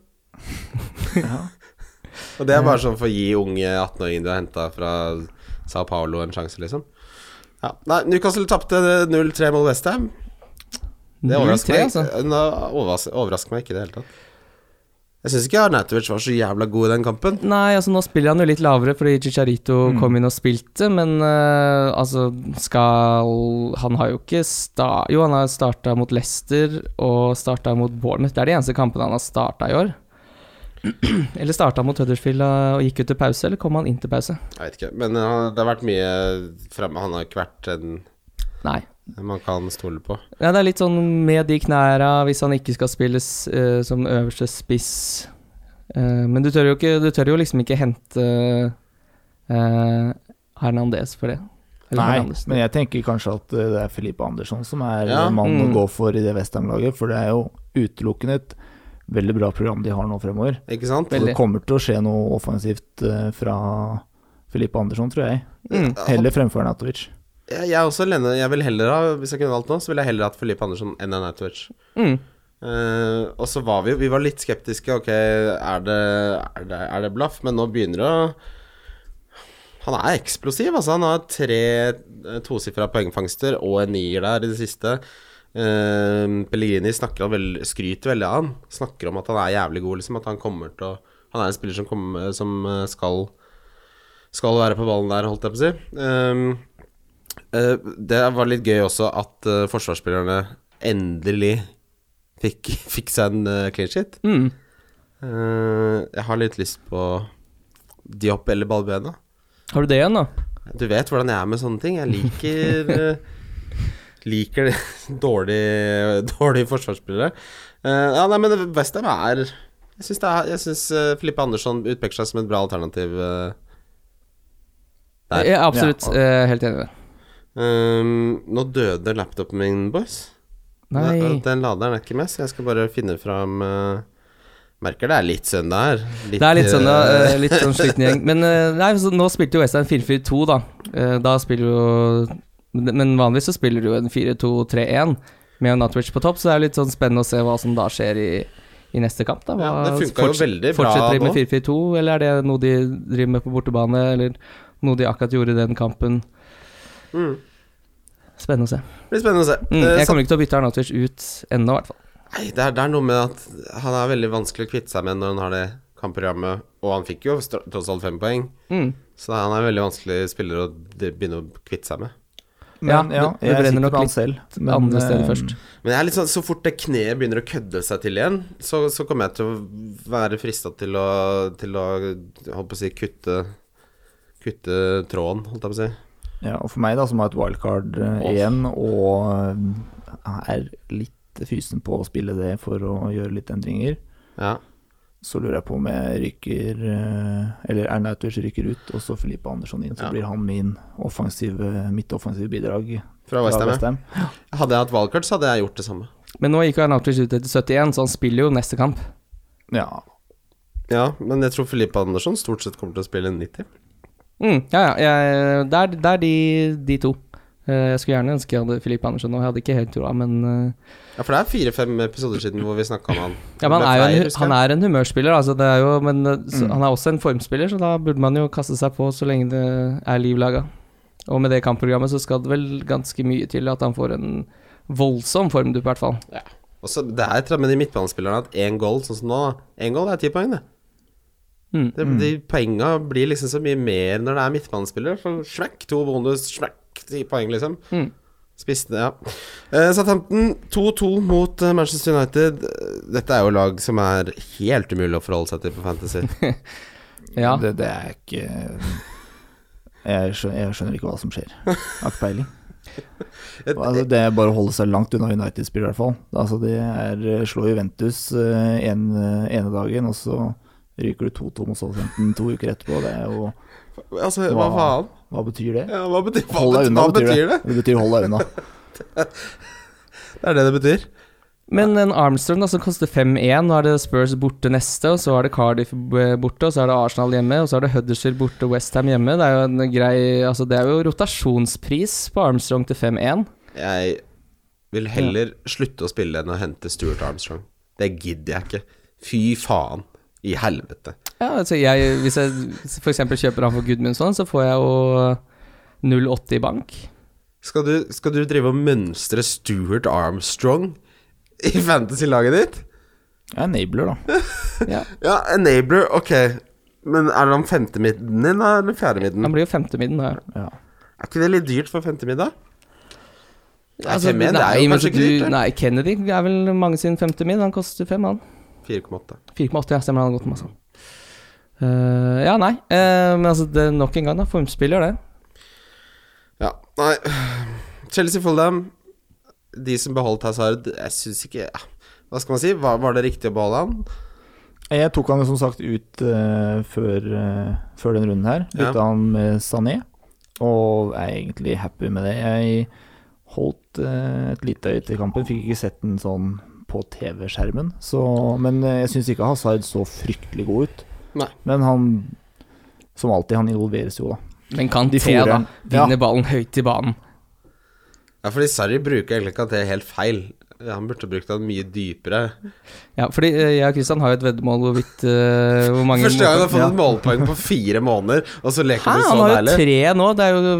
Ja. Og det er bare sånn for å gi unge 18-åringer du har henta fra Sao Paulo en sjanse, liksom. Ja. Nei, Newcastle tapte 0-3 mot Westham. Det 0-3, overrasker meg, altså. ikke- Nå overras- overrasker meg ikke i det hele tatt. Jeg syns ikke Arnautovic var så jævla god i den kampen. Nei, altså nå spiller han jo litt lavere fordi Chicharito kom inn og spilte, men eh, altså skal Han har jo ikke sta... Jo, han har starta mot Leicester og starta mot Bournemouth. Det er de eneste kampene han har starta i år. eller starta mot Huddersfield eh, og gikk ut til pause, eller kom han inn til pause? Jeg vet ikke, men eh, han, det har vært mye fremme. Han har ikke vært en Nei. en man kan stole på. Ja, det er litt sånn med de knæra, hvis han ikke skal spilles eh, som øverste spiss Eh, Men du tør jo ikke Du tør jo liksom ikke hente eh, Hernandez for det. Eller Nei, Hernandez. men jeg tenker kanskje at eh, det er Felipe Andersson som er Ja. eh, mannen Mm. å gå for i det Westham-laget, for det er jo utelukkende et veldig bra program de har nå fremover. Ikke sant? Så Veldig. det kommer til å skje noe offensivt eh, fra Felipe Andersson, tror jeg. Mm. Heller fremfor Natovic. Jeg, jeg, er også Lene, jeg vil heller ha, Hvis jeg kunne valgt noe, så ville jeg heller hatt Felipe Andersson enn Arnautovic. Mm. Eh, og så var vi jo Vi var litt skeptiske. Ok, er det, er det, er det blaff? Men nå begynner det å Han er eksplosiv, altså. Han har tre eh, tosifra poengfangster og en nier der i det siste. Eh, Pellegrini snakker om vel, skryter veldig av han. Snakker om at han er jævlig god, liksom. At han kommer til å Han er en spiller som, kommer, som eh, skal Skal være på ballen der, holdt jeg på å si. Eh, eh, det var litt gøy også at eh, forsvarsspillerne endelig fikk, fikk seg en eh, clean shit. Mm. Eh, jeg har litt lyst på Diop eller Balbuena. Har du det igjen, da? Du vet hvordan jeg er med sånne ting. Jeg liker eh, Liker det. dårlig, dårlige forsvarsspillere. Eh, ja, nei, men Westham er Jeg syns, det er, jeg synes eh, Filippe Andersson utpeker seg som et bra alternativ. eh. Der. Ja, absolutt. Ja. eh, helt enig i det. Um, nå døde laptopen min, boys. Nei Den, den laderen er ikke med, så jeg skal bare finne fram eh, Merker det er litt søndag her. Det er litt sånn, ja, eh, eh, litt sånn sliten gjeng. Men eh, nei, så nå spilte jo Western 4-4-2, da. Eh, Da spiller jo Men men vanligvis så spiller du jo en 4-2-3-1 med Nutwich på topp, så det er litt sånn spennende å se hva som da skjer i, i neste kamp. Da. Hva, Ja, det funka jo forts- veldig bra Fortsetter de med nå. 4-4-2, eller er det noe de driver med på bortebane, eller noe de akkurat gjorde i den kampen? Mm. Spennende å se. Det blir spennende å se. Mm, Eh, jeg sam- kommer ikke til å bytte Arnatovic ut ennå, i hvert fall. Nei, det, er, det er noe med at han er veldig vanskelig å kvitte seg med når han har det kampprogrammet, og han fikk jo stro- tross alt fem poeng, Mm. så han er en veldig vanskelig spiller å d- begynne å kvitte seg med. Ja, Men ja, det- det jeg brenner sitter nok på han litt selv. andre steder eh, først. Men jeg er litt sånn, så fort det kneet begynner å kødde seg til igjen, så, så kommer jeg til å være frista til å, til å holdt på å si, kutte Kutte tråden, holdt jeg på å si. Ja, og for meg, da, som har et wildcard eh, igjen, og eh, er litt fysen på å spille det for å gjøre litt endringer, Ja. så lurer jeg på om jeg ryker eh, Eller Ernautovic ryker ut, og så Felipe Andersson inn. Så Ja. blir han min offensive, mitt offensive bidrag. Fra fra Westham. West Ham. ja. Hadde jeg hatt valgkart, så hadde jeg gjort det samme. Men nå gikk jo Arnatovic ut etter 71, så han spiller jo neste kamp. Ja. Ja, men jeg tror Filippe Andersson stort sett kommer til å spille 90. Mm, ja, ja. Jeg, det, er, det er de, de to. Eh, Jeg skulle gjerne ønske jeg hadde Filippe Andersen nå. Jeg hadde ikke helt troa, men eh, Ja, for det er fire-fem episoder siden hvor vi snakka om han. ja, men han, Med er jo Freyr, en, husker han jeg. er en humørspiller, altså. Det er jo, men eh, så, Mm. han er også en formspiller, så da burde man jo kaste seg på så lenge det er liv laga. Og med det kampprogrammet så skal det vel ganske mye til at han får en voldsom formdupp, i hvert fall. Og så det er et eller annet med de midtbanespillerne at én goal, sånn som nå, én goal er ti poeng, det. Mm. det de poenga blir liksom så mye mer når det er midtbanespiller. For smekk, to bonus, smekk, ti poeng, liksom. Mm. Spissene, ja. Eh, Southampton 2-2 mot eh, Manchester United. Dette er jo lag som er helt umulig å forholde seg til på Fantasy. Ja. Det, det er ikke jeg skjønner, jeg skjønner ikke hva som skjer. Jeg Har ikke peiling. Altså, det er bare å holde seg langt unna United-spill, i hvert fall. Altså, det er eh, slå Juventus eh, en, eh, ene dagen, og så ryker du 2-2 mot Southampton to uker etterpå. Det er jo altså, hva faen? Hva betyr det? Ja, hva betyr, hva, Hold deg betyr, unna, hva betyr det? Det betyr hold deg unna. Det er det det betyr. Men en Armstrong da, som koster 5-1, nå er det Spurs borte neste, og så er det Cardiff b- borte, og så er det Arsenal hjemme, og så er det Huddersfield borte og Westham hjemme. Det er jo en grei Altså, det er jo rotasjonspris på Armstrong til 5-1. Jeg vil heller slutte å spille enn å hente Stuart Armstrong. Det gidder jeg ikke. Fy faen i helvete. Ja, altså jeg Hvis jeg f.eks. kjøper han for Gudmundsson, så får jeg jo 0,80 i bank. Skal du, skal du drive og mønstre Stuart Armstrong i fantasy-laget ditt? Jeg er enabler, da. Ja. Ja, enabler, ok. Men er det om femtemidden din, da, eller fjerdemidden? Han blir jo femtemidden, da. Ja. Er ikke det litt dyrt for femtemiddag? Nei, Altså, fem igjen, det er nei, jo men kanskje du- ikke dyrt, det. Nei, Kennedy er vel mange sin femtemid. Han koster fem, han. 4,8. 4,8, ja, stemmer han har gått masse. Eh, ja, nei. eh, men altså, det er nok en gang, da. Formspiller, det. Ja, nei Chelsea Fulham De som beholdt Hazard Jeg synes ikke ja. Hva skal man si? Var, var det riktig å beholde han? Jeg tok han jo som sagt ut eh, før, eh, før den runden her. Bytta han med Sané, og er egentlig happy med det. Jeg holdt eh, et lite øye til kampen, fikk ikke sett den sånn på TV-skjermen. så- Men eh, jeg syns ikke Hazard så fryktelig god ut. Nei. Men han, som alltid, han involveres jo, da. Men kan De T, da, fôrer. vinne Ja. ballen høyt i banen. Ja, fordi Sarri bruker egentlig ikke at det er helt feil Han burde brukt han mye dypere Ja, fordi eh, jeg og Kristian har jo et veddemål hvorvidt eh, hvor mange Første gang han har fått Ja. et målpoeng på fire måneder Og så leker Hæ, han det han så har jo deilig tre nå. Det er jo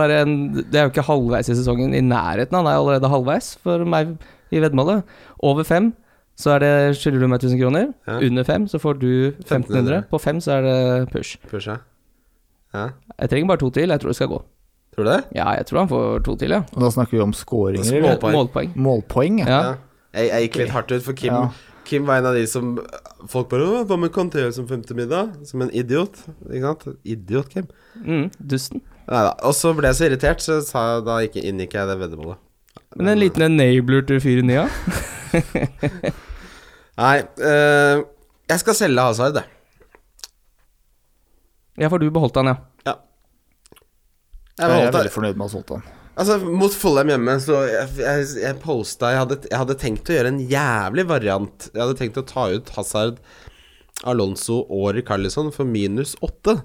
bare en Det er jo ikke halvveis i sesongen. I nærheten. Han er allerede halvveis for meg i veddemålet. Over fem så er det skylder du meg 1000 kroner. Ja. Under fem så får du 1500. På fem så er det push. Pusha Ja, Jeg trenger bare to til. Jeg tror det skal gå. tror du det? Ja, jeg tror han får to til, ja. Og da snakker vi om scoringer, eller? Målpoeng. Målpoeng. Målpoeng, ja. Ja. Jeg, jeg gikk litt hardt ut for Kim Ja. Kim var en av de som Folk bare, «Å, hva med Kanté som femte middag? Som en idiot, ikke sant? Idiot, Kim Mm, dusten. Neida, og så ble jeg så irritert Så sa jeg, da gikk, inngikk jeg det veddemålet Men en liten enabler til 4-9, ja. Nei, eh, jeg skal selge Hazard, jeg. Ja, for du beholdt han, ja. Ja. Jeg Jeg er beholdt, veldig fornøyd med å ha solgt han. jeg Altså, mot Follheim hjemme, så jeg, jeg, jeg posta jeg hadde, jeg hadde tenkt å gjøre en jævlig variant. Jeg hadde tenkt å ta ut Hazard, Alonso og Rikarlison for minus åtte.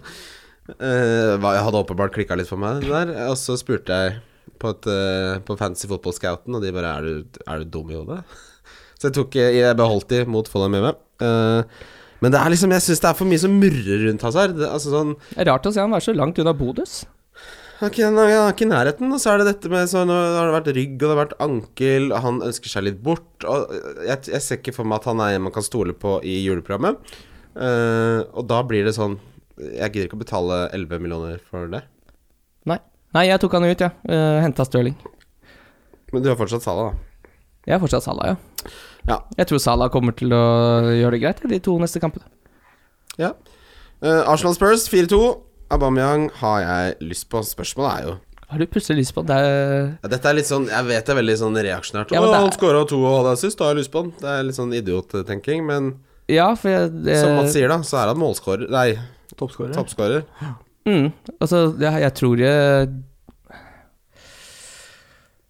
Eh, hva- jeg hadde åpenbart klikka litt for meg der. Og så spurte jeg på, et, eh, på Fantasy Football Scouten, og de bare Er du, er du dum i hodet? Så jeg, tok, eh, jeg beholdt de mot Follheim hjemme. Eh, men det er liksom, jeg syns det er for mye som murrer rundt Hazard. Det- Altså sånn Det er Rart å se han være så langt unna Bodøs. han er ikke- han er ikke i nærheten, og så er det dette med så Nå har det vært rygg, og det har vært ankel, og han ønsker seg litt bort. Og jeg, jeg ser ikke for meg at han er en man kan stole på i juleprogrammet. Eh, og da blir det sånn Jeg gidder ikke å betale 11 millioner for det. Nei. Nei, jeg tok han ut, jeg. Ja. Henta Stirling. Men du har fortsatt Salah, da. Jeg er fortsatt Salah, ja. Ja. Jeg tror Salah kommer til å gjøre det greit i de to neste kampene. Ja. Eh, Arsenal Spurs 4-2. Aubameyang har jeg lyst på. Spørsmålet er jo Har du plutselig lyst på det? er- ja, Dette er litt sånn Jeg vet det er veldig sånn reaksjonært. Ja, Å, men det er- han scora to og hadde assist, da har jeg lyst på han. Det er litt sånn idiottenking, men Ja, for jeg det- som Mats sier, da, så er han målskårer. Nei, Toppskårer. toppskårer. Mm, altså, jeg, jeg tror jeg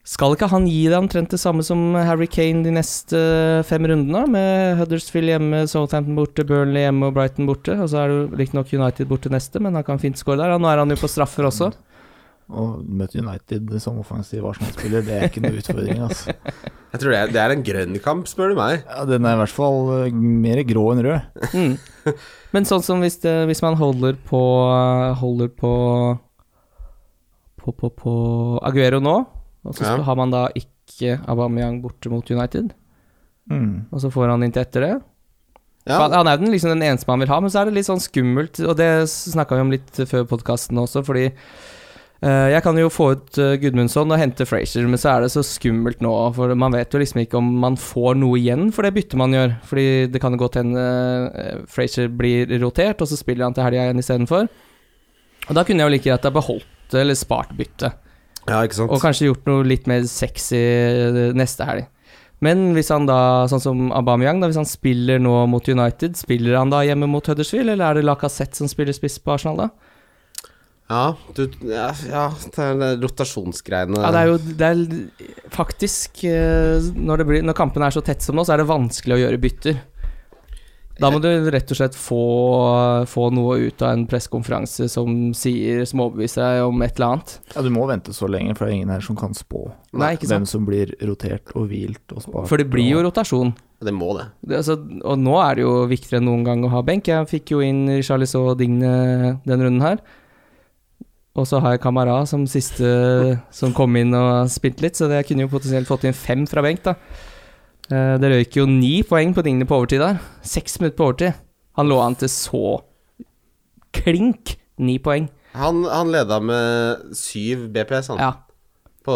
Skal ikke han gi deg omtrent det samme som Harry Kane de neste fem rundene? Med Huddersfield hjemme, Southampton borte, Burnley hjemme og Brighton borte. Og så er det jo riktignok United borte neste, men han kan fint score der. Og nå er han jo på straffer også. Og møte United som offensiv Arsenal-spiller, det er ikke noe utfordring, altså. Jeg tror det er, det er en grønn kamp, spør du meg. Ja, den er i hvert fall eh, mer grå enn rød. Mm. Men sånn som hvis, det, hvis man holder på Holder på På, på, på Aguero nå, og så Ja. har man da ikke Aubameyang borte mot United, Mm. og så får han inntil etter det. Ja, Han, han er den, liksom den eneste man vil ha, men så er det litt sånn skummelt, og det snakka vi om litt før podkasten også, fordi eh, jeg kan jo få ut eh, Gudmundsson og hente Frazier, men så er det så skummelt nå. For man vet jo liksom ikke om man får noe igjen for det byttet man gjør. Fordi det kan jo godt hende uh, Frazier blir rotert, og så spiller han til helga igjen istedenfor. Og da kunne jeg jo like greit ha beholdt det, eller spart byttet. ja ikke sant. Og kanskje gjort noe litt mer sexy eh, neste helg. Men hvis han da, sånn som Aubameyang, da, hvis han spiller nå mot United, spiller han da hjemme mot Huddersfield, eller er det Lacassette som spiller spiss på Arsenal da? Ja, du, ja, ja, det er det rotasjonsgreiene Ja, det er jo det er faktisk eh, når, det blir, når kampene er så tett som nå, så er det vanskelig å gjøre bytter. Da må du rett og slett få, få noe ut av en pressekonferanse som sier, som overbeviser deg om et eller annet. Ja, du må vente så lenge, for det er ingen her som kan spå Nei, ikke sant? hvem som blir rotert og hvilt og spart. For det blir jo rotasjon. Det må det. Det, altså, og nå er det jo viktigere enn noen gang å ha benk. Jeg fikk jo inn Charlisot og Digne den runden her. Og så har jeg Kamara som siste som kom inn og spilte litt, så det jeg kunne jo potensielt fått inn fem fra benk, da. Eh, Det røyk jo ni poeng på Digne på overtid der. Seks minutter på overtid. Han lå an til så klink ni poeng. Han, han leda med syv BPS, han, Ja, på,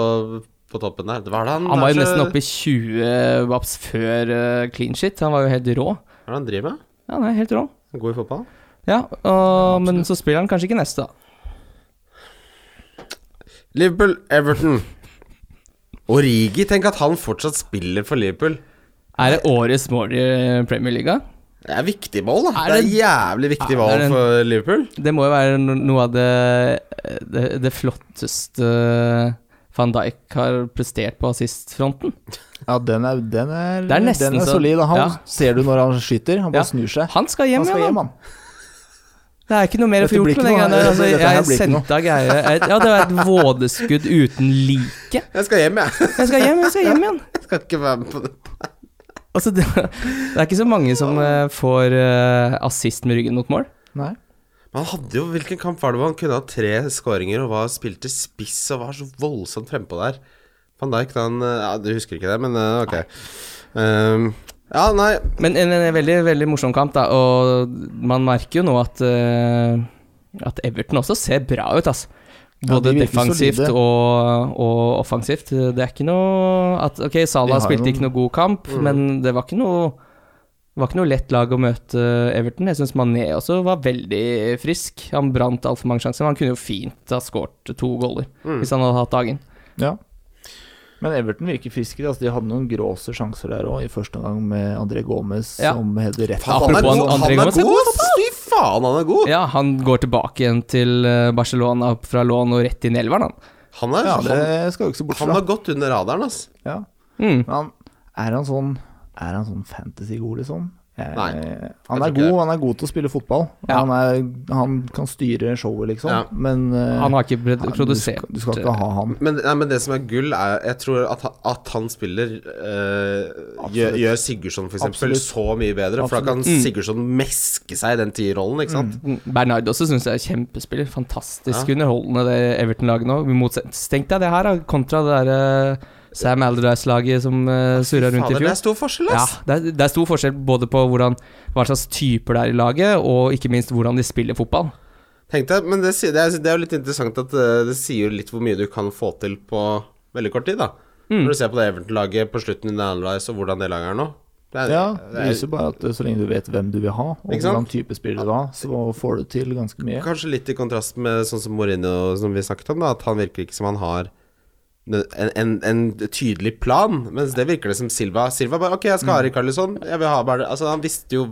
på toppen der. Hva er det han, han var jo det er nesten så- oppe i 20 waps før eh, clean shit. Han var jo helt rå. Hva er det han driver med? Ja, han er helt rå. God i fotball? Ja, og, men så spiller han kanskje ikke neste, da. Liverpool, Everton. Origi, tenk at han fortsatt spiller for Liverpool. Er det årets mål i Premier League? Det er viktig mål, da. Er Det det- er jævlig viktig Ja, det er valg en- for Liverpool. Det må jo være no- noe av det, det, det flotteste van Dijk har prestert på assistfronten. Ja, den er, den er, Det er nesten den er så- solid. og Han ja. ser du når han skyter, han Ja. bare snur seg. Han skal hjem, Han skal ja, hjem, da. han. Det er ikke noe mer å Dette få blir gjort med ikke den noe- greia der. Altså, dette her jeg blir ikke sendte av greie jeg- Ja, det var et vådeskudd uten like. Jeg skal hjem, jeg. Jeg skal hjem, jeg skal hjem igjen. Jeg skal ikke være med på det. Altså, det, det er ikke så mange som eh, får eh, assist med ryggen mot mål. Nei. Men han hadde jo, Hvilken kamp var det hvor han kunne ha tre skåringer og var spilte spiss og var så voldsomt frempå der? Van Dijk, da han eh, ja, Du husker ikke det, men eh, ok. Ehm, ja, nei Men en, en veldig, veldig morsom kamp, da. Og man merker jo nå at, eh, at Everton også ser bra ut, altså. Ja, Både de virker defensivt solide. og, og offensivt. Det er ikke noe at Ok, Salah De har jo Mm. spilte ikke noe god kamp, men det var ikke noe det var ikke noe lett lag å møte eh, Everton. Jeg syns Mané også var veldig frisk. Han brant altfor mange sjanser. men Han kunne jo fint ha skåret to goller Mm. hvis han hadde hatt dagen. Ja. Men Everton virker friskere. Altså, de hadde noen gråse sjanser der òg, i første omgang med André Gomez Ja. som header rett Faen, Apropos han er god! André Han Gomez, er god! Fy faen, han er god! Ja, han går tilbake igjen til eh, Barcelona fra lån og rett inn i elveren, han. Han, er, Ja, han, det skal jo ikke se bort han fra. har gått under radaren, ass. Ja. Mm. Men han, er han sånn Er han sånn fantasy-god, liksom? Jeg, Nei, han tror er ikke god, det. han er god til å spille fotball. Ja. Han, er, han kan styre showet, liksom. Ja. Men eh, Han har ikke pred- han- produsert du, skal, du skal ikke ha han. Men, nei, men det som er gull, er Jeg tror at, han- at han spiller eh, gjør, Absolutt. gjør Sigurdsson for eksempel Absolutt. Mm. så mye bedre, for da kan Sigurdsson meske seg i den tierrollen, ikke sant? Mm, Bernard også syns jeg er kjempespiller. Fantastisk Ja. underholdende, det Everton-laget nå. Motsatt- Tenk deg det her, da, kontra det der eh, Sam Allardyce-laget som uh, surra rundt i Fader, det fjor. er stor forskjell, Ja, ass! det er, det er stor forskjell både på hvordan, hva slags typer det er i laget, og ikke minst hvordan de spiller fotball. Tenk deg, men det, sier- det, er, det er jo litt interessant at eh, det sier jo litt hvor mye du kan få til på veldig kort tid, da. Mm. Når du ser på det Everton-laget på slutten under Analyze og hvordan det laget er nå. Det er, Ja, det det er viser bare at eh, så lenge du vet hvem du vil ha, og Ikke sant? hvilken type spiller du vil ha, så får du til ganske mye. kanskje litt i kontrast med sånn som Mourinho, som vi snakket om, da, at han virker ikke som han har en, en, en tydelig plan, mens det virker det som Silva Silva bare Ok, jeg skal ha Mm. Rikarlison. Jeg vil ha bare Altså, han visste jo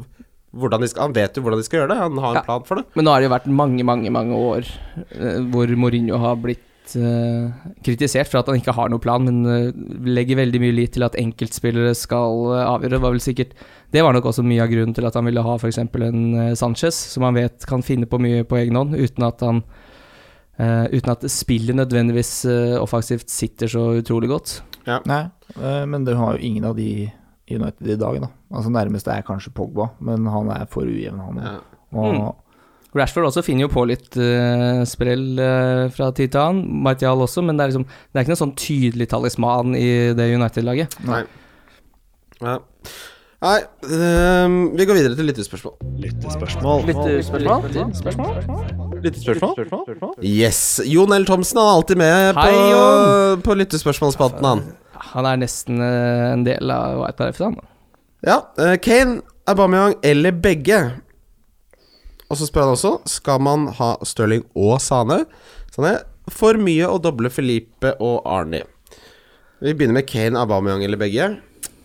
hvordan de skal Han vet jo hvordan de skal gjøre det. Han har en Ja. plan for det. Men nå har det jo vært mange, mange mange år eh, hvor Mourinho har blitt eh, kritisert for at han ikke har noen plan, men eh, legger veldig mye lit til at enkeltspillere skal eh, avgjøre. Det var vel sikkert Det var nok også mye av grunnen til at han ville ha f.eks. en eh, Sanchez, som han vet kan finne på mye på egen hånd, uten at han eh, uten at spillet nødvendigvis eh, offensivt sitter så utrolig godt. Nei, eh, men du har jo ingen av de i United i dag, da. Altså Nærmeste er kanskje Pogba, men han er for ujevn, han. Ja. Og Mm. Rashford også finner jo på litt eh, sprell eh, fra tid til annen. Martial også, men det er, liksom, det er ikke noen sånn tydelig talisman i det United-laget. Nei. Ja. Nei, ehm, vi går videre til lyttespørsmål. Lyttespørsmål. Yes. Jon L. Thomsen han er alltid med Hei, på, Jon. på lyttespørsmålsspalten, han. Han er nesten eh, en del av White Parif, han. Ja. eh, Kane, Aubameyang eller begge? Og så spør han også Skal man ha Stirling og Sane. Sane for mye å doble Felipe og Arnie. Vi begynner med Kane, Aubameyang eller begge.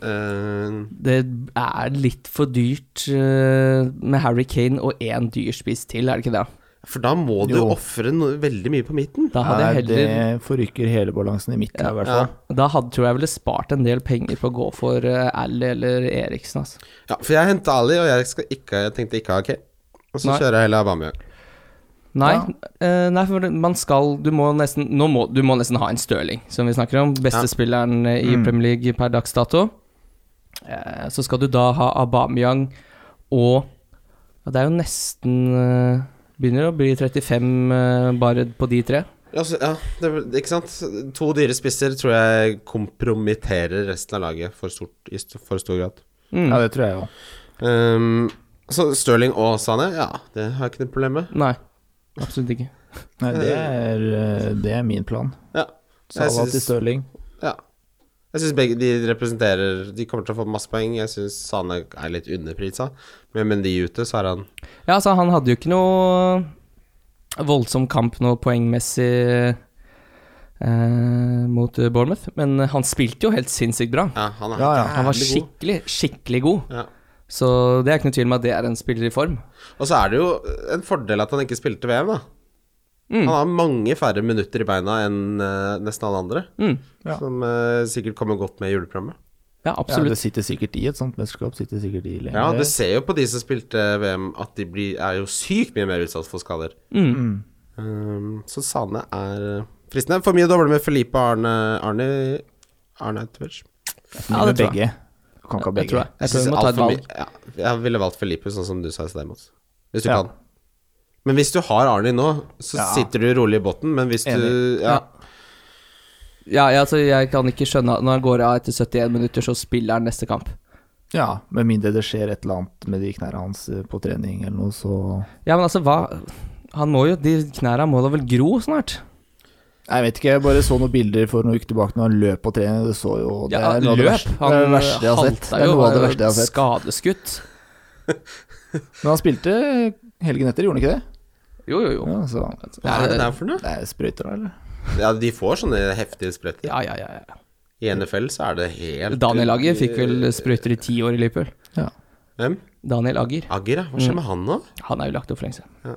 Eh, Det er litt for dyrt eh, med Harry Kane og én dyrspiss til, er det ikke det? for da må du Jo. ofre no veldig mye på midten. Da hadde jeg Nei, heller Det forrykker hele balansen i mitt lag, i hvert Ja. fall. Da hadde, tror jeg jeg ville spart en del penger på å gå for eh, Ally eller Eriksen, altså. Ja, for jeg henta Ali, og jeg, skal ikke, jeg tenkte ikke ha Kane. Og så Nei. kjører jeg heller Aubameyang. Nei, Ja. eh, nei, for man skal Du må nesten, nå må, du må nesten ha en Stirling, som vi snakker om. Ja. Beste spilleren eh, i Mm. Premier League per dags dato. Eh, så skal du da ha Aubameyang og ja, Det er jo nesten eh, Begynner å bli 35 eh, bare på de tre. Ja, så, ja det, ikke sant? To dyre spisser tror jeg kompromitterer resten av laget for, stort, i st- for stor grad. Mm. Ja, det tror jeg òg. Ehm, så Stirling og Sane, ja, det har jeg ikke noe problem med. Nei, absolutt ikke. Nei, det er, eh, det er min plan. Ja. Jeg Sala til syns- Stirling. ja. Jeg syns begge de representerer De kommer til å få masse poeng. Jeg syns Sane er litt underprisa, men med de ute, så er han Ja, altså, han hadde jo ikke noe voldsom kamp nå poengmessig eh, mot eh, Bournemouth, men eh, han spilte jo helt sinnssykt bra. Ja, han er Ja, ja, Han var jævlig god. skikkelig, skikkelig god. Ja. Så det er ikke noe tvil om at det er en spiller i form. Og så er det jo en fordel at han ikke spilte VM, da. Han har mange færre minutter i beina enn eh, nesten alle andre, Mm. Ja. som eh, sikkert kommer godt med i juleprogrammet. Ja, Ja, det absolutt. sitter sikkert i et sånt mesterskap. Sitter sikkert i lenge. Ja, du ser jo på de som spilte VM at de blir, er jo sykt mye mer utsatt for skader. Um, så Sane er eh, fristende. For mye å doble med Felipe og Arne Arne Arne Autovic. Ja, det det tror jeg. begge. Du kan ikke ha Jeg begge. tror, jeg. jeg tror synes vi må ta alt et for valg. mye- Ja, jeg ville valgt Felipe, sånn som du sa i sted, Mats. Hvis du Ja. kan. Men hvis du har Arne nå, så Ja. sitter du rolig i båten, men hvis Enig. du ja, Ja, ja, altså, jeg kan ikke skjønne at når han går av etter 71 minutter, så spiller han neste kamp. Ja, med mindre det skjer et eller annet med de knærne hans eh, på trening eller noe, så Ja, men altså, hva Han må jo De knærne må da vel gro snart? Nei, Jeg vet ikke, jeg bare så noen bilder for noen uker tilbake når han løp på trening. Det så jo Det Ja, er noe av det løp. verste- Han det er det verste jeg har sett. halta Det er noe jo, av var det jo verste jeg har sett. Skadeskutt. Men han spilte helgen etter, gjorde han ikke det? Jo, jo, jo. Ja, så Hva er det der for noe? Det er sprøyter, da, eller? Ja, de får sånne heftige spretter. Ja, ja, ja. ja. I NFL så er det helt Daniel Agger fikk vel sprøyter i ti år i Liverpool. Hvem? Daniel Agger. Agger, ja. Hva skjer med han nå? Han er jo lagt opp for lenge siden.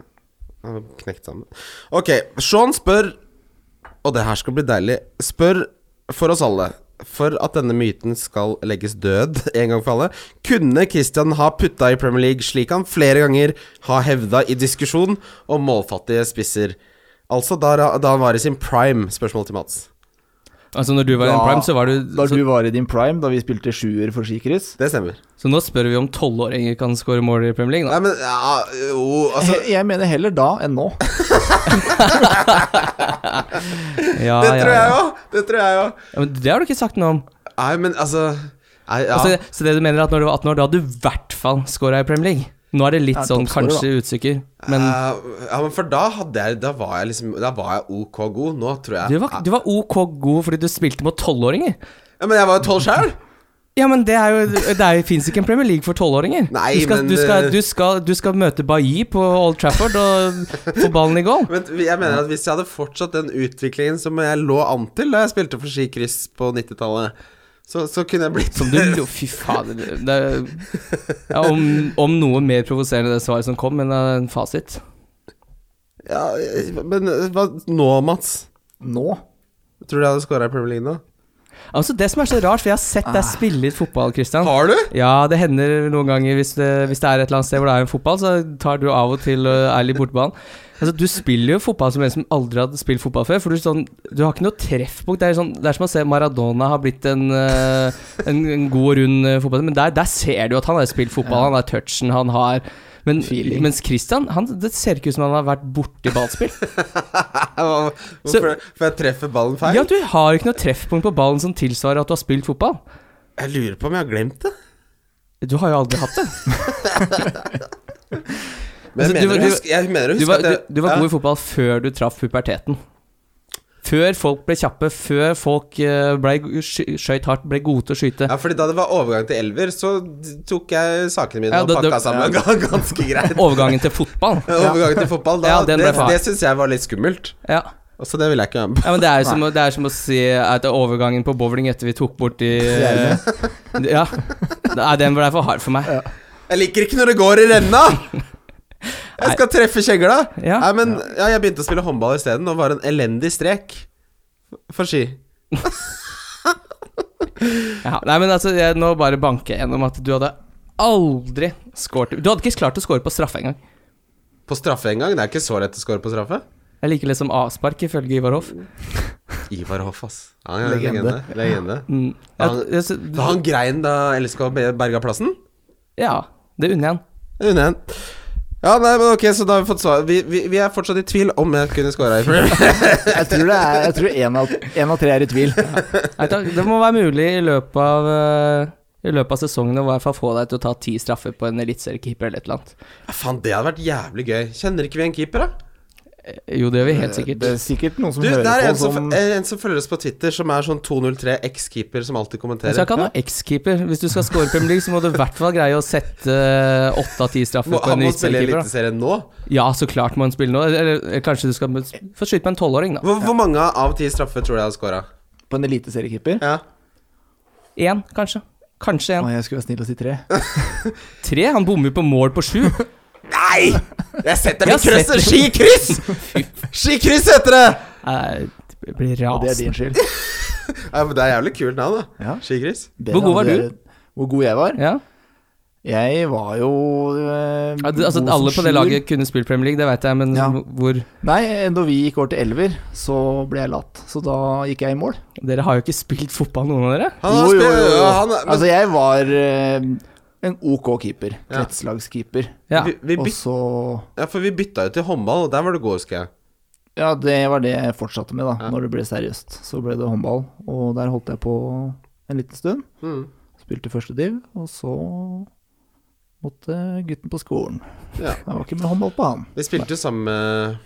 Han er Knekt sammen. Ok, Sean spør Og det her skal bli deilig. Spør for oss alle. For at denne myten skal legges død en gang for alle, kunne Christian ha putta i Premier League slik han flere ganger har hevda i diskusjon om målfattige spisser? Altså da, da han var i sin prime, spørsmål til Mats. Altså når du var i en Ja, prime, så var du Da så, du var i din prime, da vi spilte sjuer for Sikris Det stemmer. så nå spør vi om tolvåringer kan score mål i Premier League, da. Nei, men ja, jo, altså Jeg jeg mener heller da enn nå. Ja, Det ja, tror jeg ja. òg! Det tror jeg òg. Ja, men det har du ikke sagt noe om. Nei, men altså Nei, ja. Altså, så det du mener er at når du var 18 år, da hadde du i hvert fall scora i Premier League? Nå er det litt Ja, sånn toppscorer, kanskje utsikker, men Eh, ja, men for da hadde jeg Da var jeg liksom Da var jeg OK god. Nå tror jeg du var, du var OK god fordi du spilte mot tolvåringer. Ja, Men jeg var jo tolv sjøl! Ja, men det er jo Det er jo- finnes ikke en Premier League for tolvåringer. Nei, du, skal- men, du, eh, skal- du, skal- du skal møte Bailly på Old Trafford og få ballen i goal. Men jeg mener at hvis jeg hadde fortsatt den utviklingen som jeg lå an til da jeg spilte for Ski Chris på 90-tallet, så, så kunne jeg blitt Som du lo- Fy fader. Det er, ja, om, om noe mer provoserende det svaret som kom, men eh, en fasit. Ja, men eh, hva nå, Mats? Nå. Tror du jeg hadde scora i Premier League nå? Altså, det som er så rart, for jeg har sett deg spille litt fotball, Christian. Har du? Ja, det hender noen ganger hvis det, hvis det er et eller annet sted hvor det er en fotball, så tar du av og til og er litt bortebane. Altså, du spiller jo fotball som en som aldri hadde spilt fotball før, for du, sånn, du har ikke noe treffpunkt. Det er, sånn, det er som å se Maradona har blitt en, eh, en, en god og rund eh, fotball, men der, der ser du at han har spilt fotball, han har touchen, han har men, Feeling. mens Christian, han, det ser ikke ut som han har vært borti ballspill. Hva- Hvorfor For jeg treffer ballen feil? Ja, du har ikke noe treffpunkt på ballen som tilsvarer at du har spilt fotball. Jeg lurer på om jeg har glemt det. Du har jo aldri hatt det. Men jeg Altså, mener du var- å du- huske- jeg mener å Du huske var, at jeg du, du var ja. god i fotball før du traff puberteten. Før folk ble kjappe, før folk eh, ble, sky- skjøt hardt, ble gode til å skyte. Ja, fordi da det var overgang til elver, så tok jeg sakene mine Ja, det- og det- pakka sammen ganske greit. Overgangen til fotball. Overgang til fotball, da, Ja, den ble det, far. det syns jeg var litt skummelt. Ja. Og Så det ville jeg ikke være med på. ja, men det er, jo som, å- det er som å si at overgangen på bowling etter vi tok bort de eh, Ja. Nei, den ble for hard for meg. Jeg liker ikke når det går i renna! Jeg skal treffe kjegla! Ja. Nei, men ja, jeg begynte å spille håndball isteden, og var en elendig strek for ski. Ja. Nei, men altså, jeg, nå bare banker jeg gjennom at du hadde aldri scoret Du hadde ikke klart å score på straffe engang. På straffe en gang. Det er ikke så lett å score på straffe. Jeg liker det som avspark, ifølge Ivar Hoff. Ivar Hoff, ass. Ja, han er Legende. legende. legende. Mm. altså, Han- Jeg- jeg- Da han grein da LSK berga plassen? ja, det unner jeg han. Unner jeg han. Ja, nei, men ok, så da har vi fått svar. Vi, vi, vi er fortsatt i tvil om jeg kunne scora i Premier League. Jeg tror det er Jeg tror en av, en av tre er i tvil. Nei, takk. Det må være mulig i løpet av eh, i løpet av sesongen å i hvert fall få deg til å ta ti straffer på en eliteseriekeeper eller et eller annet. Ja, Faen, det hadde vært jævlig gøy. Kjenner ikke vi en keeper, da? Eh, Jo, det gjør vi helt sikkert. Det er sikkert noen som Du, det er hører en på som, som eh, en som følger oss på Twitter, som er sånn 203 X-keeper som alltid Men kommenterer. så kan du ha ekskeeper. Hvis du skal score Premier League, så må du i hvert fall greie å sette eh, åtte av ti straffer Må, på han en må spille i eliteseriekeeper. da. Eliteserien nå? Ja, så klart må han spille nå. Eller, eller kanskje du skal må- få skyte på en tolvåring, da. Hvor, hvor mange av ti straffer tror du jeg har scora? på en eliteseriekeeper. Ja. Én, kanskje. Kanskje Å, én. jeg skulle være snill og si tre. Tre? Han bommer jo på mål på sju. Nei! Jeg setter Jeg mitt kryss! setter- Skikryss! Skikryss heter det! Eh, Det blir Og det er rasende. din skyld. Ja, men det er jævlig kult navn, da. Ja. Skikryss. Det Hvor god var hadde du? jeg- Hvor god jeg var? Ja. Jeg var jo eh, Ja, det- Altså, god at alle som på det sjuer. laget kunne spilt Premier League, det veit jeg, men Ja. hvor Nei, da vi gikk over til elver, så ble jeg latt. Så da gikk jeg i mål. Dere har jo ikke spilt fotball, noen av dere. Han har spilt ja, han, men, Altså, jeg var eh, en ok keeper. Ja. Kretslagskeeper. Ja. vi, vi Og byt, så ja, for vi bytta jo til håndball, og der var du god, husker jeg. Ja, det var det jeg fortsatte med, da. Ja. Når det ble seriøst, så ble det håndball. Og der holdt jeg på en liten stund. Mm. Spilte første div, og så måtte gutten på skolen. Ja. Det var ikke med håndball på han. Vi spilte jo sammen med